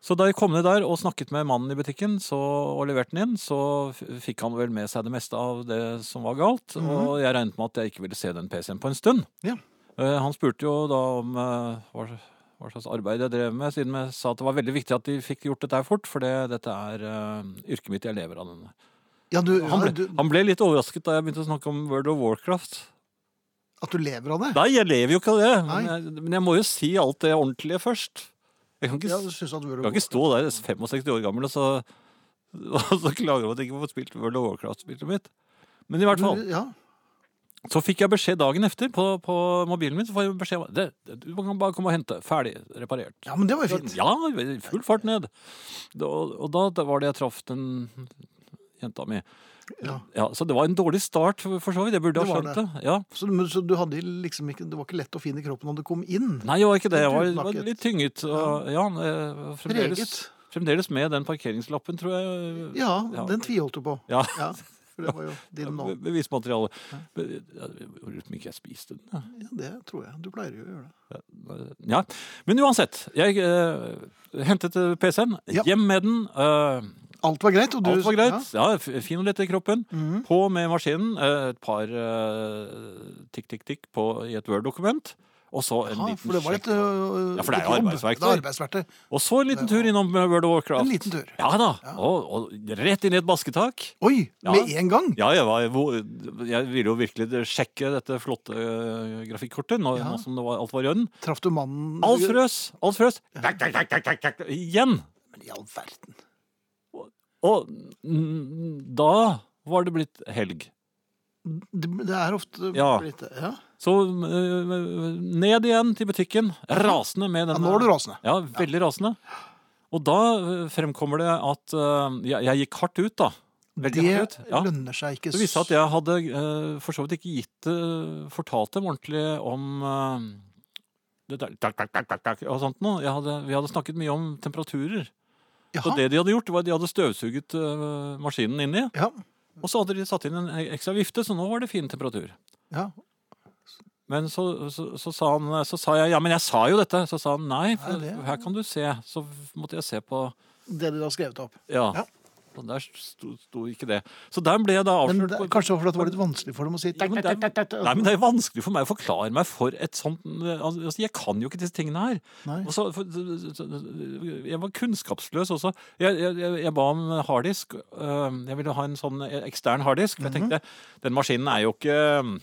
Speaker 3: Så da jeg kom ned der og snakket med mannen i butikken så, og leverte den inn, så f- fikk han vel med seg det meste av det som var galt. Og jeg regnet med at jeg ikke ville se den PC-en på en stund.
Speaker 2: Mhm. Ja.
Speaker 3: Eh, han spurte jo da om eh, hva, hva slags arbeid jeg drev med, siden jeg sa at det var veldig viktig at de fikk gjort dette her fort, for det, dette er eh, yrket mitt jeg lever av. denne.
Speaker 2: Ja, du,
Speaker 3: Han
Speaker 2: ja,
Speaker 3: ble,
Speaker 2: du,
Speaker 3: han ble litt overrasket da jeg begynte å snakke om World of Warcraft.
Speaker 2: at du lever av det?
Speaker 3: Nei, jeg lever jo ikke av det, men
Speaker 2: Nei.
Speaker 3: jeg, men jeg må jo si alt det ordentlige først. Jeg kan ikke
Speaker 2: Ja, du synes at World
Speaker 3: du kan ikke stå der 65 år gammel og så, og så klage over at jeg ikke får spilt World of Warcraft-spillet mitt. Men i hvert fall,
Speaker 2: Ja,
Speaker 3: så fikk jeg beskjed dagen etter på, på mobilen min. så får jeg beskjed om, det, det- Du kan bare komme og hente. Ferdig. Reparert.
Speaker 2: ja, men det var jo fint.
Speaker 3: Ja, i full fart ned. Da- Og da da var det jeg traff den jenta mi.
Speaker 2: Ja.
Speaker 3: så det var en dårlig start, for for så vidt. Jeg burde ha
Speaker 2: Det var
Speaker 3: skjønt det. Ja.
Speaker 2: Så, men, så du hadde liksom ikke, det var ikke lett å finne kroppen når du kom inn?
Speaker 3: Nei, jeg var ikke det. Jeg var,
Speaker 2: Du
Speaker 3: var
Speaker 2: knakket.
Speaker 3: litt tynget. Og, ja, eh, fremdeles,
Speaker 2: Preget.
Speaker 3: fremdeles med den parkeringslappen, tror jeg.
Speaker 2: Ja,
Speaker 3: Ja.
Speaker 2: den tviholdt du på.
Speaker 3: Ja.
Speaker 2: Ja, for det var jo din nå.
Speaker 3: Be- Bevismateriale. Be- ja, Lurer på om ikke jeg spiste den. jeg.
Speaker 2: Ja, det tror jeg. Du pleier jo å gjøre det.
Speaker 3: Ja. Men uansett. Jeg eh, hentet eh, PC-en,
Speaker 2: Ja.
Speaker 3: hjem med den. eh,
Speaker 2: Alt var greit. Og du, Mhm.
Speaker 3: alt var greit. Ja, f- fin og lett i kroppen. På med maskinen. eh, et par eh, tikk-tikk-tikk i et Word-dokument. Og så en
Speaker 2: Ja,
Speaker 3: liten
Speaker 2: for det var et
Speaker 3: sjekk.
Speaker 2: øh,
Speaker 3: Ja, for det er jo
Speaker 2: et jobb.
Speaker 3: arbeidsverktøy.
Speaker 2: Det er arbeidsverktøy.
Speaker 3: Og så en liten tur innom eh, World of Warcraft.
Speaker 2: En liten tur.
Speaker 3: Ja da. Og, og rett inn i et basketak.
Speaker 2: Oi!
Speaker 3: Ja.
Speaker 2: Med en gang!
Speaker 3: Ja, jeg, var, hvor- jeg ville jo virkelig sjekke dette flotte eh, grafikkortet, nå,
Speaker 2: Ja.
Speaker 3: nå som det var, alt var i orden.
Speaker 2: Traff du mannen
Speaker 3: Alt frøs! Alt frøs! Igjen!
Speaker 2: Men i all verden.
Speaker 3: Og mm, da var det blitt helg.
Speaker 2: Det, det er ofte
Speaker 3: Ja.
Speaker 2: blitt det. Ja.
Speaker 3: Så øh, ned igjen til butikken, rasende med
Speaker 2: ja,
Speaker 3: den
Speaker 2: nå er du rasende.
Speaker 3: Ja, veldig rasende. Og da øh, fremkommer det at øh, jeg, jeg gikk hardt ut, da. Veldig
Speaker 2: Det
Speaker 3: hardt ut. Ja.
Speaker 2: lønner seg ikke.
Speaker 3: Det viste seg at jeg hadde øh, for så vidt ikke gitt øh, fortalt dem ordentlig om øh, det der, tak, tak, tak, tak, tak, og sånt noe. Jeg hadde, vi hadde snakket mye om temperaturer. Så
Speaker 2: Jaha.
Speaker 3: det de hadde gjort, var at de hadde støvsuget øh, maskinen inni.
Speaker 2: Ja.
Speaker 3: Og så hadde de satt inn en e- ekstra vifte, så nå var det fin temperatur.
Speaker 2: ja.
Speaker 3: Men så, så, så, sa, han, så sa jeg ja, men jeg sa jo dette. Så sa han nei, for
Speaker 2: Nei, det-
Speaker 3: her kan du se. Så måtte jeg se på
Speaker 2: Det dere har skrevet opp.
Speaker 3: Ja.
Speaker 2: Ja.
Speaker 3: Og der sto, sto ikke det. Så der ble jeg da
Speaker 2: Men
Speaker 3: avslørt.
Speaker 2: det,
Speaker 3: på-
Speaker 2: kanskje fordi det var litt vanskelig for dem å si
Speaker 3: Ja, men det er-
Speaker 2: altså.
Speaker 3: Nei, men det er vanskelig for meg å forklare meg for et sånt altså, Jeg kan jo ikke disse tingene her.
Speaker 2: Nei.
Speaker 3: Og så, for, jeg var kunnskapsløs også. Jeg, jeg, jeg- jeg ba om harddisk. øh, Jeg ville ha en sånn ekstern harddisk. For jeg tenkte, den maskinen er jo ikke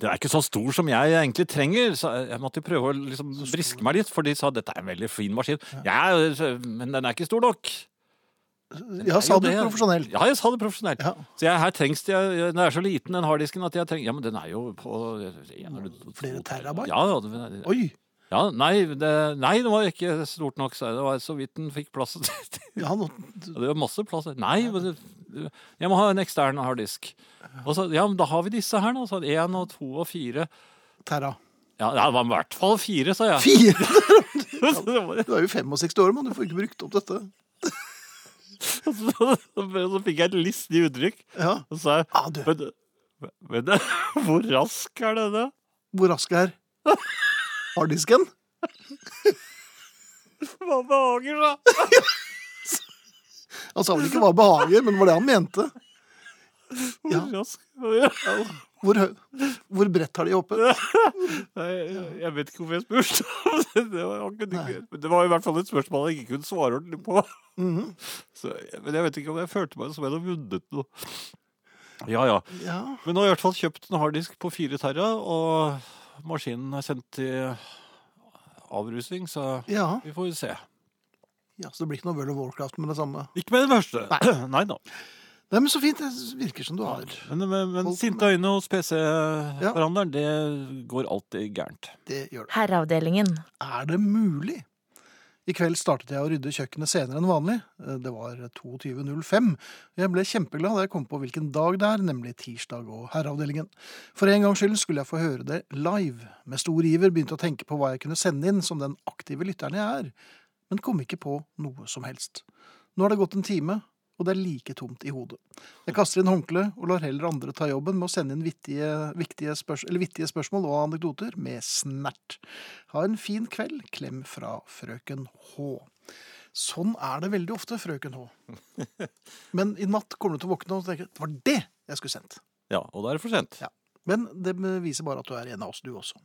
Speaker 3: den er ikke så stor som jeg egentlig trenger. Så jeg måtte jo prøve å liksom vriske meg litt, for de sa dette er en veldig fin maskin. Ja, men den er ikke stor nok.
Speaker 2: Ja, sa
Speaker 3: jo
Speaker 2: du
Speaker 3: det.
Speaker 2: profesjonell?
Speaker 3: Ja, jeg sa det profesjonelt.
Speaker 2: Ja.
Speaker 3: Så jeg, her trengs det, jeg, den er så liten den harddisken at jeg trenger, ja, men den er jo på en eller to-
Speaker 2: Flere terabyte?
Speaker 3: Ja, ja, det-
Speaker 2: Oi!
Speaker 3: ja nei, det, nei, det var ikke stort nok, sa jeg. Det var så vidt den fikk plass. til.
Speaker 2: Ja, nå,
Speaker 3: Det var masse plass. Nei, men det- jeg må ha en ekstern harddisk. Og så, ja, men da har vi disse her nå, sa han. En og to og fire.
Speaker 2: Terra.
Speaker 3: Ja, ja, det var i hvert fall fire, sa jeg.
Speaker 2: Fire!
Speaker 3: Så det var-
Speaker 2: Du er jo 65 år, mann. Du får ikke brukt opp dette.
Speaker 3: Så så fikk jeg et listig uttrykk.
Speaker 2: Ja.
Speaker 3: Og så sa jeg,
Speaker 2: Ah, du,
Speaker 3: men, men hvor rask er denne?
Speaker 2: hvor rask er harddisken?
Speaker 3: Hva behager da?
Speaker 2: Han sa vel ikke hva behager, men det var det han mente.
Speaker 3: Hvor
Speaker 2: Ja.
Speaker 3: rask? Ja.
Speaker 2: Hvor, hø- hvor bredt har de hoppet?
Speaker 3: Nei, jeg, jeg vet ikke hvorfor jeg spurte. men det, var, han kunne ikke, men det var i hvert fall et spørsmål jeg ikke kunne
Speaker 2: Mhm.
Speaker 3: svare ordentlig på. Så, men jeg vet ikke om jeg følte meg som jeg hadde vunnet noe. Ja, ja.
Speaker 2: Ja.
Speaker 3: Men nå har jeg i hvert fall kjøpt en harddisk på fire terra, og maskinen er sendt til avrusing, så
Speaker 2: ja.
Speaker 3: vi får se.
Speaker 2: ja, Så det blir ikke noe World of Warcraft med det samme.
Speaker 3: Ikke med det første. Nei, da.
Speaker 2: Nei, men så fint. Det virker som du har
Speaker 3: Men, men, men
Speaker 2: Folk-
Speaker 3: sinte øyne hos PC-forhandleren, det går alltid gærent.
Speaker 2: Det gjør det.
Speaker 8: Herreavdelingen.
Speaker 2: Er det mulig? I kveld startet jeg å rydde kjøkkenet senere enn vanlig. Eh, Det var 22.05. Jeg ble kjempeglad da jeg kom på hvilken dag det er, nemlig tirsdag og herreavdelingen. For en gangs skyld skulle jeg få høre det live. Med stor iver begynte jeg å tenke på hva jeg kunne sende inn som den aktive lytteren jeg er, men kom ikke på noe som helst. Nå har det gått en time, og det er like tomt i hodet. Jeg kaster inn håndkleet og lar heller andre ta jobben med å sende inn vittige, viktige spørs eller vittige spørsmål og anekdoter med snert. Ha en fin kveld. Klem fra frøken H. Sånn er det veldig ofte, frøken H. Men i natt kommer du til å våkne og tenke det var det jeg skulle sendt.
Speaker 3: Ja, og da er det for sent.
Speaker 2: Ja. Men det viser bare at du er en av oss, du også.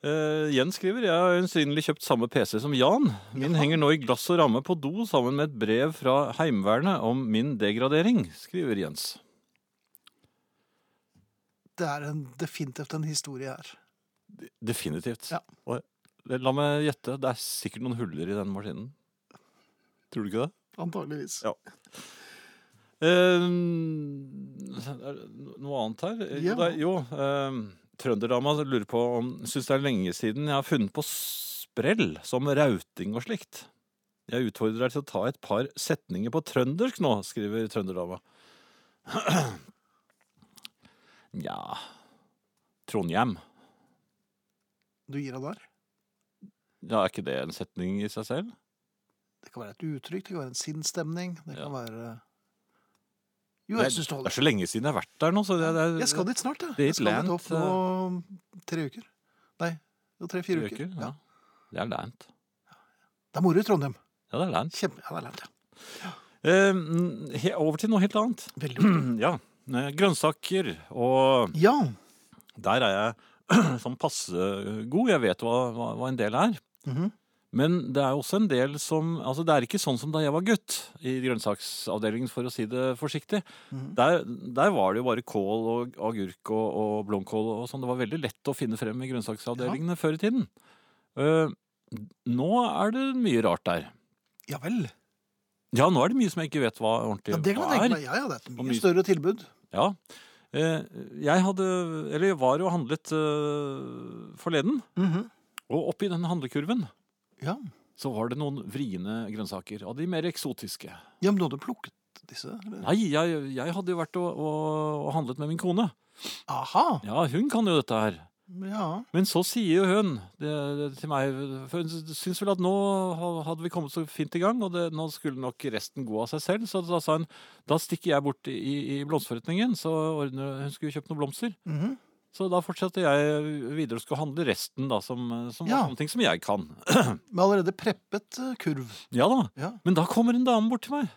Speaker 3: Eh, Jens skriver jeg har øyensynlig kjøpt samme PC som Jan. Min henger nå i glass og ramme på do sammen med et brev fra Heimevernet om min degradering, skriver Jens.
Speaker 2: Det er en, definitivt en historie her.
Speaker 3: Definitivt.
Speaker 2: Ja.
Speaker 3: Og, eh, la meg gjette, det er sikkert noen huller i den maskinen. Tror du ikke det?
Speaker 2: Antageligvis.
Speaker 3: Ja. Eh, er det Ehm, noe annet her? Eh,
Speaker 2: Ja.
Speaker 3: Jo, det er- jo eh, trønderdama lurer på om Syns det er lenge siden jeg har funnet på sprell som rauting og slikt. Jeg utfordrer deg til å ta et par setninger på trøndersk nå, skriver trønderdama. Nja Trondhjem.
Speaker 2: Du gir deg der.
Speaker 3: Ja, er ikke det en setning i seg selv?
Speaker 2: Det kan være et uttrykk, det kan være en sinnsstemning, det
Speaker 3: Ja.
Speaker 2: kan være Jo, jeg syns det
Speaker 3: det er
Speaker 2: holder.
Speaker 3: så lenge siden jeg har vært der nå, så det, det,
Speaker 2: Jeg skal dit snart, jeg.
Speaker 3: Det er
Speaker 2: Jeg skal
Speaker 3: et
Speaker 2: dit opp
Speaker 3: land,
Speaker 2: nå om tre uker. Nei, tre-fire uker.
Speaker 3: Ja.
Speaker 2: Ja.
Speaker 3: Det er lænt.
Speaker 2: Det er moro i Trondheim.
Speaker 3: Ja, det er lænt.
Speaker 2: Kjempe... Ja, det er land, ja.
Speaker 3: Eh, mm, he- over til noe helt annet.
Speaker 2: Veldig moro.
Speaker 3: Ja. eh, Grønnsaker. Og
Speaker 2: Ja.
Speaker 3: der er jeg sånn passe god. Jeg vet hva, hva, hva en del er.
Speaker 2: Mhm.
Speaker 3: Men det er også en del som Altså, det er ikke sånn som da jeg var gutt i grønnsaksavdelingen, for å si det forsiktig.
Speaker 2: Mhm.
Speaker 3: Der, der var det jo bare kål og agurk og, og blomkål og sånn. Det var veldig lett å finne frem i grønnsaksavdelingene før i tiden. Eh, nå er det mye rart der.
Speaker 2: ja vel.
Speaker 3: Ja, nå er det mye som jeg ikke vet hva ordentlig
Speaker 2: Ja, det kan jeg
Speaker 3: hva er.
Speaker 2: tenke meg. Ja, ja, det er et
Speaker 3: Og
Speaker 2: mye
Speaker 3: mye-
Speaker 2: større tilbud.
Speaker 3: Ja. Eh, Jeg hadde, eller jeg var og handlet eh, forleden,
Speaker 2: Mhm.
Speaker 3: og oppi den handlekurven
Speaker 2: Ja.
Speaker 3: så var det noen vriene grønnsaker, av de mer eksotiske.
Speaker 2: ja, men du hadde plukket disse? Eller?
Speaker 3: Nei, jeg, jeg hadde jo vært og, og, og handlet med min kone.
Speaker 2: Aha.
Speaker 3: Ja, hun kan jo dette her.
Speaker 2: Ja.
Speaker 3: Men så sier jo hun det, det, til meg, for hun syns vel at nå ha- hadde vi kommet så fint i gang, og det, nå skulle nok resten gå av seg selv, så da sa hun da stikker jeg bort i, i blomsterforretningen, så ordner, hun skulle jo kjøpt noen blomster.
Speaker 2: Mhm.
Speaker 3: Så da fortsatte jeg videre og skulle handle resten, da, som, som
Speaker 2: Ja.
Speaker 3: var sånne ting som jeg kan.
Speaker 2: Med allerede preppet eh, kurv.
Speaker 3: Ja da.
Speaker 2: Ja.
Speaker 3: Men da kommer en dame bort til meg.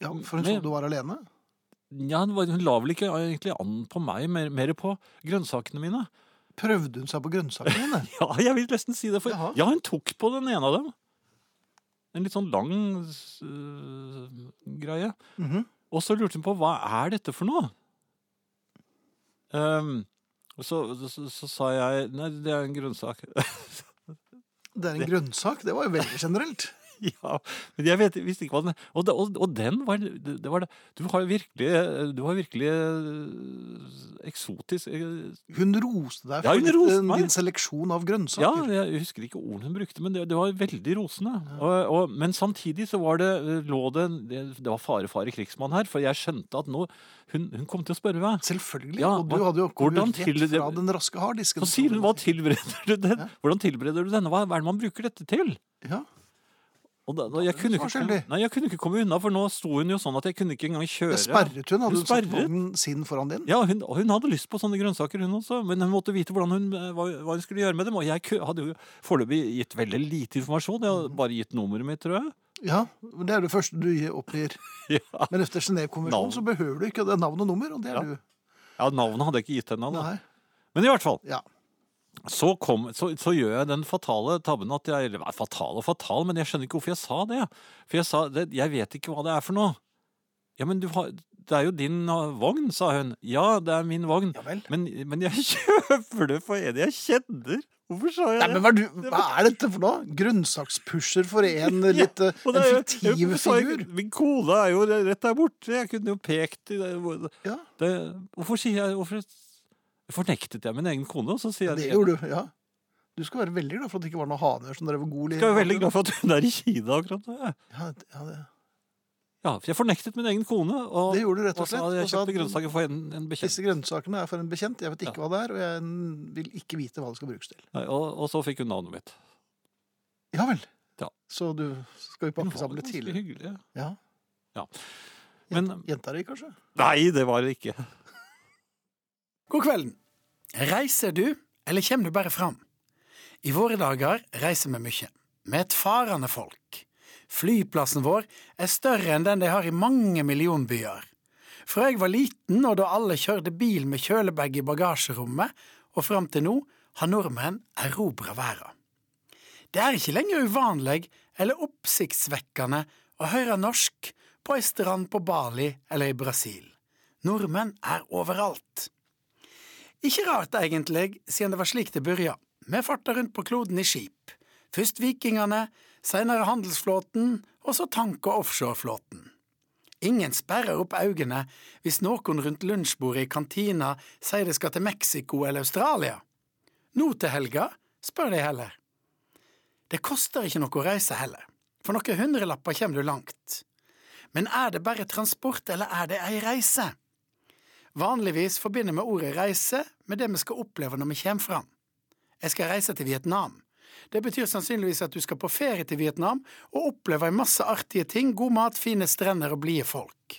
Speaker 2: ja for hun
Speaker 3: Mm, Men-
Speaker 2: trodde du var alene?
Speaker 3: Ja, hun var- hun la vel ikke egentlig an på meg, mer, mer på grønnsakene mine.
Speaker 2: Prøvde hun seg på grønnsakene dine?
Speaker 3: Ja, jeg vil nesten si det, for
Speaker 2: Jaha.
Speaker 3: ja, hun tok på den ene av dem. En litt sånn lang øh, greie.
Speaker 2: Mhm.
Speaker 3: Og så lurte hun på hva er dette for noe? Ehm, og så, så, så sa jeg nei, det er en grønnsak.
Speaker 2: Det er en grønnsak. Det var jo veldig generelt.
Speaker 3: Ja, men jeg vet, visste ikke hva den Og, det- og, og den var det, det var det. Du har virkelig, du har virkelig eh, eksotisk eh,
Speaker 2: Hun roste deg
Speaker 3: Ja, hun
Speaker 2: for ditt,
Speaker 3: roste
Speaker 2: eh,
Speaker 3: meg.
Speaker 2: din seleksjon av
Speaker 3: Ja,
Speaker 2: grønnsaker.
Speaker 3: jeg husker ikke ordene hun brukte, men det, det var veldig rosende. Og, og, men samtidig så var det, lå det Det det var fare, fare krigsmann her, for jeg skjønte at nå Hun, hun kom til å spørre meg.
Speaker 2: Selvfølgelig.
Speaker 3: Ja,
Speaker 2: og
Speaker 3: hva-
Speaker 2: du hadde jo kommet
Speaker 3: hvordan
Speaker 2: rett
Speaker 3: til-
Speaker 2: fra den raske harddisken.
Speaker 3: Så sier hun hva tilbereder du den? Hvordan tilbereder du denne? Hva er det man bruker dette til?
Speaker 2: Ja.
Speaker 3: Og da, da, jeg,
Speaker 2: hun
Speaker 3: kunne ikke,
Speaker 2: svar skyldig.
Speaker 3: nei, jeg kunne ikke komme unna, for nå sto hun jo sånn at jeg kunne ikke engang kjøre.
Speaker 2: Det sperret hun.
Speaker 3: Hun
Speaker 2: Hadde hun satt
Speaker 3: sperret.
Speaker 2: vognen sin foran din?
Speaker 3: Ja, hun, og hun hadde lyst på sånne grønnsaker, hun også, men hun måtte vite hvordan hun, eh, hva, hva hun skulle gjøre med dem. Og jeg ku- hadde jo foreløpig gitt veldig lite informasjon. Jeg hadde bare gitt nummeret mitt, tror jeg.
Speaker 2: Ja, men Det er det første du gir- oppgir.
Speaker 3: Ja,
Speaker 2: Men etter Genévekonvensjonen
Speaker 3: Navn.
Speaker 2: så behøver du ikke det navn og nummer, og det er
Speaker 3: Ja.
Speaker 2: du.
Speaker 3: ja Navnet hadde jeg ikke gitt henne. Da.
Speaker 2: Nei.
Speaker 3: Men i hvert fall,
Speaker 2: Ja.
Speaker 3: så, kom, så, så gjør jeg den fatale tabben at jeg Eller nei, fatal og fatal, men jeg skjønner ikke hvorfor jeg sa det. For jeg sa det, jeg vet ikke hva det er for noe. Ja, men du har, det er jo din ah, vogn, sa hun. Ja, det er min vogn.
Speaker 2: Ja vel.
Speaker 3: Men, men jeg kjøper det for en jeg kjenner. Hvorfor sa jeg
Speaker 2: Nei, men
Speaker 3: det?
Speaker 2: hva er, du, hva er dette for noe? Grønnsakspusher for en litt eh,
Speaker 3: Og
Speaker 2: en
Speaker 3: det er jo-
Speaker 2: fiktiv
Speaker 3: jeg- sa jeg-
Speaker 2: figur?
Speaker 3: Min kone er jo rett der borte. Jeg kunne jo pekt i det. hvor-
Speaker 2: Ja.
Speaker 3: det hvorfor sier jeg Hvorfor fornektet jeg min egen kone? Og så sier jeg
Speaker 2: Det
Speaker 3: jeg-
Speaker 2: gjorde du, ja. Du skal være veldig glad for at det ikke var noen haner som drev og god
Speaker 3: Jeg er jo veldig glad for at hun er i Kina akkurat nå. jeg.
Speaker 2: Ja, det- ja, det,
Speaker 3: Ja, for jeg fornektet min egen kone. Og,
Speaker 2: det gjorde du rett og slett.
Speaker 3: sa
Speaker 2: Og
Speaker 3: at jeg
Speaker 2: sa at
Speaker 3: kjøpte grønnsaker for en, en bekjent.
Speaker 2: Disse grønnsakene er for en bekjent. Jeg vet ikke hva det er, og jeg vil ikke vite hva det skal brukes til.
Speaker 3: Nei, Og, og så fikk hun navnet mitt.
Speaker 2: Ja vel.
Speaker 3: Ja.
Speaker 2: Så du skal vi
Speaker 3: Hun
Speaker 2: pakke
Speaker 3: var
Speaker 2: sammen litt
Speaker 3: ganske
Speaker 2: tidligere?
Speaker 3: hyggelig. ja.
Speaker 2: Ja.
Speaker 3: Ja.
Speaker 2: Men,
Speaker 3: Men-
Speaker 2: Jenta di, kanskje?
Speaker 3: Nei, det var det ikke.
Speaker 9: God kvelden. Reiser du, eller kommer du bare fram? I våre dager reiser vi mye. Vi er et farende folk. Flyplassen vår er større enn den de har i mange millionbyer. Fra jeg var liten og da alle kjørte bil med kjølebag i bagasjerommet, og fram til nå har nordmenn erobra verden. Det er ikke lenger uvanlig eller oppsiktsvekkende å høre norsk på ei strand på Bali eller i Brasil. Nordmenn er overalt. Ikke rart, egentlig, siden det var slik det begynte. Vi farta rundt på kloden i skip. Først vikingene, senere handelsflåten, og så tank- og offshoreflåten. Ingen sperrer opp øynene hvis noen rundt lunsjbordet i kantina sier de skal til Mexico eller Australia. Nå til helga spør de heller. Det koster ikke noe å reise heller, for noen hundrelapper kommer du langt. Men er det bare transport, eller er det ei reise? Vanligvis forbinder vi ordet reise med det vi skal oppleve når vi kommer fram. Jeg skal reise til Vietnam. Det betyr sannsynligvis at du skal på ferie til Vietnam og oppleve en masse artige ting, god mat, fine strender og blide folk.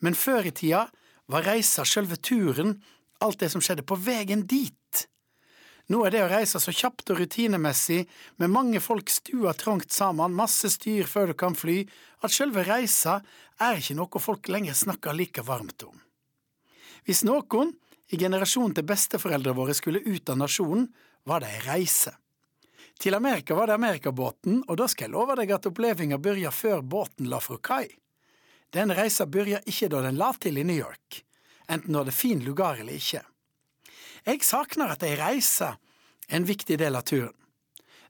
Speaker 9: Men før i tida var reisa sjølve turen, alt det som skjedde på veien dit. Nå er det å reise så kjapt og rutinemessig, med mange folk stua trangt sammen, masse styr før du kan fly, at sjølve reisa er ikke noe folk lenger snakker like varmt om. Hvis noen i generasjonen til besteforeldrene våre skulle ut av nasjonen, var det ei reise. Til Amerika var det Amerikabåten, og da skal jeg love deg at opplevelsen begynte før båten la fra kai. Den reisa begynte ikke da den la til i New York, enten du hadde fin lugar eller ikke. Jeg savner at ei reise er en viktig del av turen.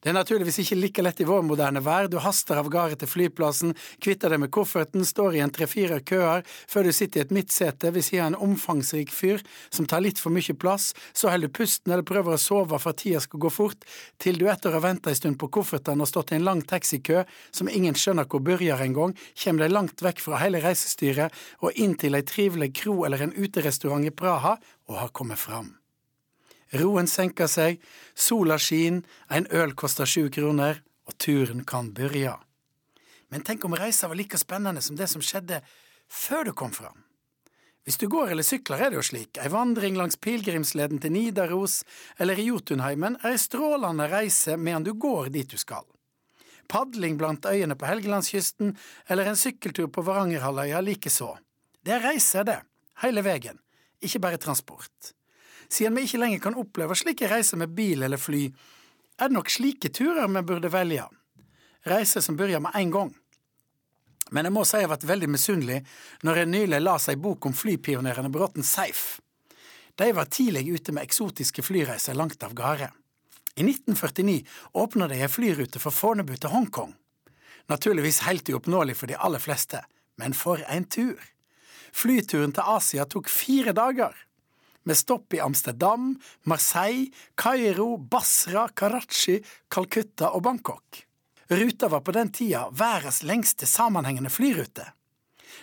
Speaker 9: Det er naturligvis ikke like lett i vår moderne vær. Du haster av gårde til flyplassen, kvitter deg med kofferten, står i en tre-fire køer før du sitter i et midtsete ved siden av en omfangsrik fyr som tar litt for mye plass, så holder du pusten eller prøver å sove for at tida skal gå fort, til du etter å ha venta ei stund på kofferten og stått i en lang taxikø som ingen skjønner hvor begynner engang, kommer deg langt vekk fra hele reisestyret og inn til ei trivelig kro eller en uterestaurant i Praha og har kommet fram. Roen senker seg, sola skin, en øl koster sju kroner, og turen kan begynne. Men tenk om reisa var like spennende som det som skjedde før du kom fram? Hvis du går eller sykler, er det jo slik. Ei vandring langs pilegrimsleden til Nidaros eller i Jotunheimen er ei strålende reise medan du går dit du skal. Padling blant øyene på Helgelandskysten eller en sykkeltur på Varangerhalvøya likeså. Det er reiser, det. Hele veien. Ikke bare transport. Siden vi ikke lenger kan oppleve slike reiser med bil eller fly, er det nok slike turer vi burde velge. Reiser som begynner med en gang. Men jeg må si jeg har vært veldig misunnelig når jeg nylig leste ei bok om flypionerene Bråten Seif. De var tidlig ute med eksotiske flyreiser langt av gårde. I 1949 åpna de ei flyrute fra Fornebu til Hongkong. Naturligvis helt uoppnåelig for de aller fleste, men for en tur! Flyturen til Asia tok fire dager med stopp i Amsterdam, Marseille, Kairo, Basra, Karachi, Calcutta og Bangkok. Ruta var på den tida verdens lengste sammenhengende flyrute.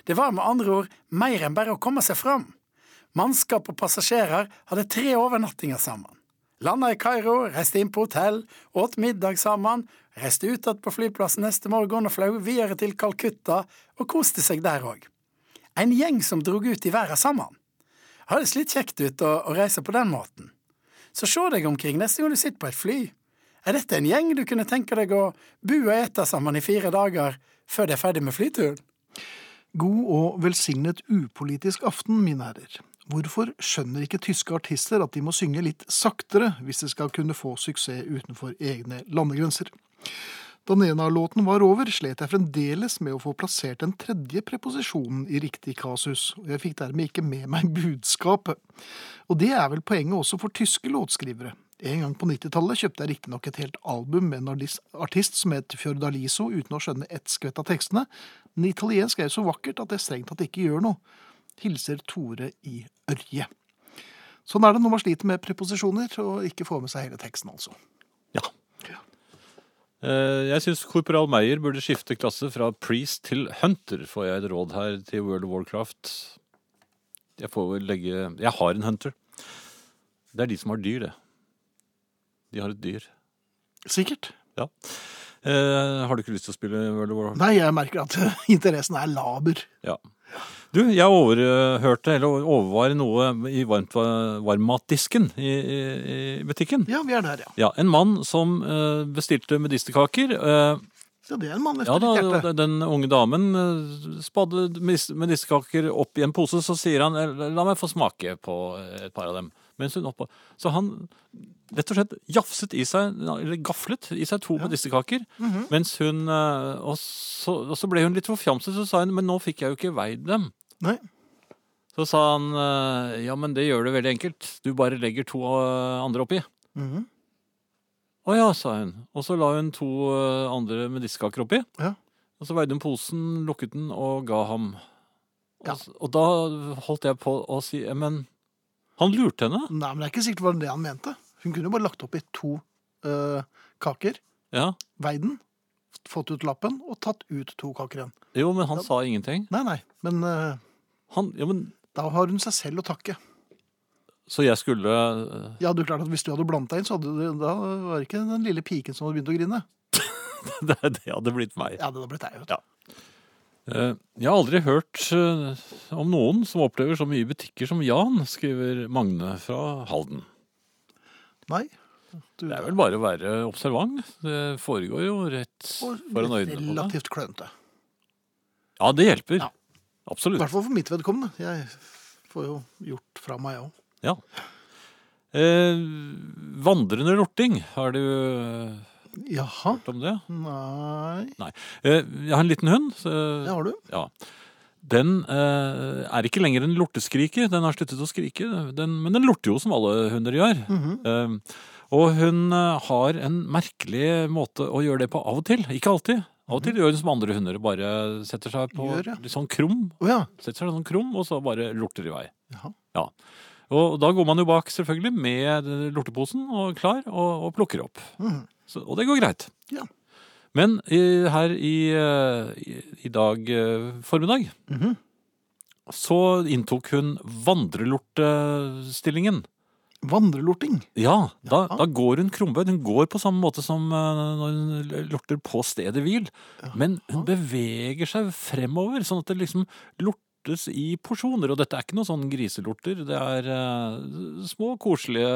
Speaker 9: Det var med andre ord mer enn bare å komme seg fram. Mannskap og passasjerer hadde tre overnattinger sammen. Landa i Kairo, reiste inn på hotell, åt middag sammen, reiste ut igjen på flyplassen neste morgen og fløy videre til Calcutta og koste seg der òg. En gjeng som drog ut i verden sammen høres litt kjekt ut å, å reise på den måten. Så se deg omkring neste gang du sitter på et fly. Er dette en gjeng du kunne tenke deg å bo og ete sammen i fire dager før de er ferdig med flyturen?
Speaker 2: God og velsignet upolitisk aften, mine herrer. Hvorfor skjønner ikke tyske artister at de må synge litt saktere hvis de skal kunne få suksess utenfor egne landegrenser? Da Nena-låten var over, slet jeg fremdeles med å få plassert den tredje preposisjonen i riktig kasus, og jeg fikk dermed ikke med meg budskapet. Og det er vel poenget også for tyske låtskrivere. En gang på 90-tallet kjøpte jeg riktignok et helt album med en artis- artist som het Fiordaliso, uten å skjønne ett skvett av tekstene, men italiensk er jo så vakkert at jeg strengt tatt ikke gjør noe. Hilser Tore i Ørje. Sånn er det når man sliter med preposisjoner og ikke får med seg hele teksten, altså.
Speaker 3: Ja. Eh, Jeg syns korporal Meyer burde skifte klasse fra priest til hunter, får jeg et råd her til World of Warcraft. Jeg får vel legge Jeg har en hunter. Det er de som har dyr, det. De har et dyr.
Speaker 2: Sikkert.
Speaker 3: Ja. Eh, har du ikke lyst til å spille World of Warcraft?
Speaker 2: Nei, jeg merker at interessen er laber.
Speaker 3: Ja. Du, jeg overhørte, eller overvar noe i varmt, varmmatdisken i, i, i butikken.
Speaker 2: Ja, vi er der, ja.
Speaker 3: Ja, en mann som eh, bestilte medisterkaker. eh,
Speaker 2: Så det er en mann
Speaker 3: ja,
Speaker 2: etter
Speaker 3: da,
Speaker 2: ditt hjerte.
Speaker 3: den- den unge damen eh, spadde medis- medisterkaker opp i en pose, så sier han "Eh, la meg få smake på eh, et par av dem. Mens hun oppå. Så han rett og slett jafset i seg, eller gaflet i seg to medisterkaker. Mens hun eh, og så, og så ble hun litt forfjamset, så sa hun men nå fikk jeg jo ikke veid dem.
Speaker 2: Nei.
Speaker 3: Så sa han eh, ja, men det gjør det veldig enkelt. Du bare legger to eh, andre oppi.
Speaker 2: Mhm.
Speaker 3: Å ja, sa hun. Og så la hun to eh, andre medisterkaker oppi.
Speaker 2: Ja.
Speaker 3: Og så veide hun posen, lukket den og ga ham. Og,
Speaker 2: Ja.
Speaker 3: s- og da holdt jeg på å si "Ja, Men han lurte henne.
Speaker 2: Nei, men det er ikke sikkert det var det han mente. Hun kunne jo bare lagt opp i to eh, kaker,
Speaker 3: Ja.
Speaker 2: veid den, fått ut lappen og tatt ut to kaker igjen.
Speaker 3: Jo, men han
Speaker 2: Ja.
Speaker 3: sa ingenting.
Speaker 2: Nei, nei, men eh,
Speaker 3: Han, ja, men,
Speaker 2: da har hun seg selv å takke.
Speaker 3: så jeg skulle eh,
Speaker 2: Ja, du klart at Hvis du hadde blandet deg inn, så hadde du, da var det ikke den lille piken som hadde begynt å grine.
Speaker 3: Det, det hadde blitt meg.
Speaker 2: Ja, det hadde blitt deg, vet du.
Speaker 3: Ja. Eh, Jeg har aldri hørt eh, om noen som opplever så mye butikker som Jan, skriver Magne fra Halden.
Speaker 2: Nei. Du,
Speaker 3: Det er vel bare å være observant. Det foregår jo rett
Speaker 2: og
Speaker 3: foran øynene på deg.
Speaker 2: Relativt klønete.
Speaker 3: Ja, det hjelper.
Speaker 2: Ja. I
Speaker 3: Absolutt.
Speaker 2: hvert fall for mitt vedkommende. Jeg får jo gjort fra meg, jeg òg.
Speaker 3: Ja. Eh, vandrende lorting, har du eh,
Speaker 2: Jaha.
Speaker 3: hørt om det?
Speaker 2: Nei
Speaker 3: Eh, jeg har en liten hund. så-
Speaker 2: Det har du.
Speaker 3: Ja. Den eh, er ikke lenger en lorteskrike. Den har sluttet å skrike, den, men den lorter jo som alle hunder gjør.
Speaker 2: Mhm.
Speaker 3: Eh, og hun eh, har en merkelig måte å gjøre det på av og til. Ikke alltid. Av og til gjør hun som andre hunder, bare setter seg på
Speaker 2: Mhm. Gjør, ja.
Speaker 3: litt sånn krum,
Speaker 2: Å ja.
Speaker 3: setter seg sånn krum, og så bare lorter i vei.
Speaker 2: Jaha.
Speaker 3: Ja. Og da går man jo bak selvfølgelig med lorteposen og klar, og, og plukker opp.
Speaker 2: Mhm.
Speaker 3: Så, og det går greit.
Speaker 2: Ja.
Speaker 3: Men eh, her i, eh, i, i dag eh, formiddag
Speaker 2: Mhm.
Speaker 3: så inntok hun vandrelortestillingen.
Speaker 2: Vandrelorting.
Speaker 3: Ja, da,
Speaker 2: Ja.
Speaker 3: da går hun krumbøyd. Hun går på samme måte som eh, når hun lorter på stedet hvil. Men hun beveger seg fremover, sånn at det liksom lortes i porsjoner. Og dette er ikke noen sånn griselorter. Det er eh, små, koselige,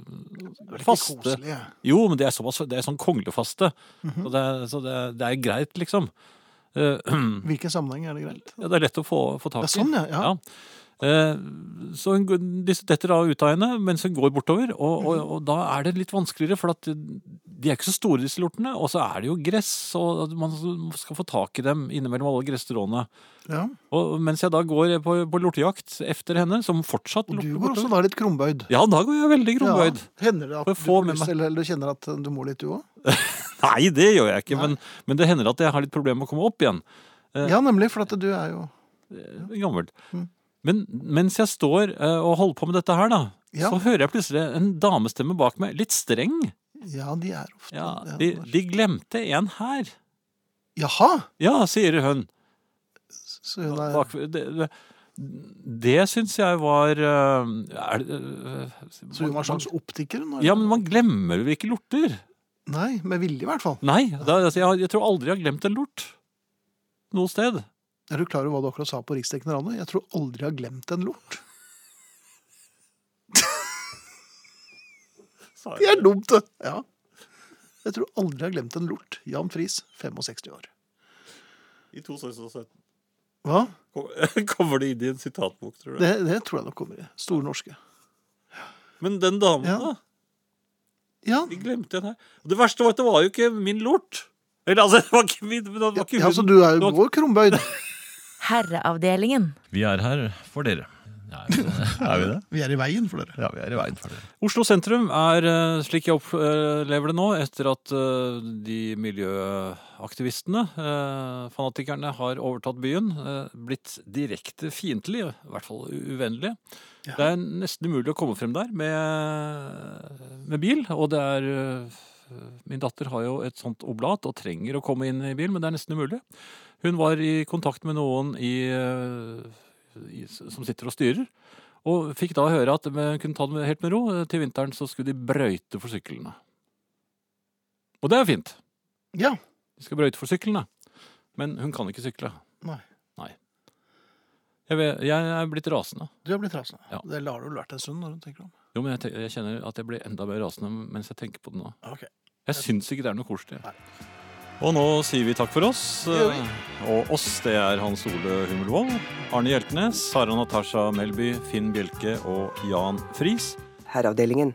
Speaker 2: Det er ikke
Speaker 3: faste
Speaker 2: koselig. Mhm.
Speaker 3: jo, men det er, såpass, det er sånn konglefaste. Så, det er, så det, er, det er greit, liksom. Eh,
Speaker 2: Hvilken sammenheng er det greit?
Speaker 3: ja, det er lett å få, få tak i.
Speaker 2: Ja, sånn, ja. ja.
Speaker 3: Ja. Eh, så hun, går- disse detter da ut av henne mens hun går bortover, og,
Speaker 2: Mhm.
Speaker 3: og, og da er det litt vanskeligere, for at de er ikke så store, disse lortene, og så er det jo gress, og man skal få tak i dem innimellom alle gresstråene.
Speaker 2: ja.
Speaker 3: Og mens jeg da går på, på lortejakt efter henne, som fortsatt
Speaker 2: Og du
Speaker 3: lorter
Speaker 2: går også
Speaker 3: bortover
Speaker 2: da litt krumbøyd.
Speaker 3: Ja, da går jeg veldig kronbøyd.
Speaker 2: Ja. Hender det at du,
Speaker 3: Får jeg få
Speaker 2: får
Speaker 3: med
Speaker 2: lyst,
Speaker 3: meg-
Speaker 2: eller, eller du kjenner at du må litt, du òg?
Speaker 3: Nei, det gjør jeg ikke,
Speaker 2: Nei.
Speaker 3: men, men det hender at jeg har litt problemer med å komme opp igjen.
Speaker 2: Ja, nemlig, for at du er jo
Speaker 3: Eh, gammelt.
Speaker 2: Mm.
Speaker 3: Men mens jeg står eh, og holder på med dette her, da,
Speaker 2: Ja.
Speaker 3: så hører jeg plutselig en damestemme bak meg, litt streng.
Speaker 2: Ja, de er ofte
Speaker 3: Ja,
Speaker 2: det er
Speaker 3: de,
Speaker 2: bare-
Speaker 3: de glemte en her.
Speaker 2: Jaha!
Speaker 3: Ja, sier hun.
Speaker 2: Så hun er
Speaker 3: Bak, det det, det syns jeg var eh, er, det, eh,
Speaker 2: Så hun var sånn- slags optiker? Når...
Speaker 3: Ja, men man glemmer jo ikke lorter.
Speaker 2: Nei, med vilje i hvert fall.
Speaker 3: Nei, da, altså, jeg, jeg tror aldri jeg har glemt en lort. Noe sted.
Speaker 2: Er du klar over hva du akkurat sa på Riksdekkende radio? Jeg tror aldri jeg har glemt en lort. Det er dumt, det! Ja. Jeg tror aldri jeg har glemt en lort. Jan Friis, 65 år.
Speaker 3: I 2017
Speaker 2: Hva?
Speaker 3: kommer det inn i en sitatbok, tror
Speaker 2: Det, det tror jeg nok kommer i. Store norske.
Speaker 3: Men den damen,
Speaker 2: Ja.
Speaker 3: da?
Speaker 2: Ja,
Speaker 3: Vi glemte den her. Og det verste var at det var jo ikke min lort. Eller altså, det var ikke min det var ikke
Speaker 2: Ja, altså,
Speaker 3: min.
Speaker 2: du er jo
Speaker 3: Nå-
Speaker 2: vår krumbøyd.
Speaker 8: Herreavdelingen.
Speaker 10: Vi er her for dere. Nei, er vi det?
Speaker 2: Vi er i veien for dere.
Speaker 10: Ja, vi er i veien for dere.
Speaker 3: Oslo sentrum er, eh, slik jeg opplever det nå, etter at eh, de miljøaktivistene, eh, fanatikerne, har overtatt byen, eh, blitt direkte fiendtlige, i hvert fall uvennlige. Det er nesten umulig å komme frem der med, med bil, og det er eh, Min datter har jo et sånt oblat og trenger å komme inn i bil, men det er nesten umulig. Hun var i kontakt med noen i, eh, i, som sitter og styrer. Og fikk da høre at men hun kunne ta det med- helt med ro. Til vinteren så skulle de brøyte for syklene. Og det er jo fint.
Speaker 2: Ja.
Speaker 3: De skal brøyte for syklene. Men hun kan ikke sykle.
Speaker 2: Nei.
Speaker 3: Nei. Jeg, vet, jeg er blitt rasende.
Speaker 2: Du er blitt rasende.
Speaker 3: Ja.
Speaker 2: Det lar du vel vært en stund når du tenker om.
Speaker 3: Jo, men jeg, te- jeg kjenner at jeg blir enda mer rasende mens jeg tenker på det nå.
Speaker 2: Ok.
Speaker 3: Jeg syns ikke det er noe koselig. Og nå sier vi takk for oss. Og oss, det er Hans Ole Hummelvold, Arne Hjeltnes, Sara Natasha Melby, Finn Bjelke og Jan Friis.
Speaker 4: Herreavdelingen.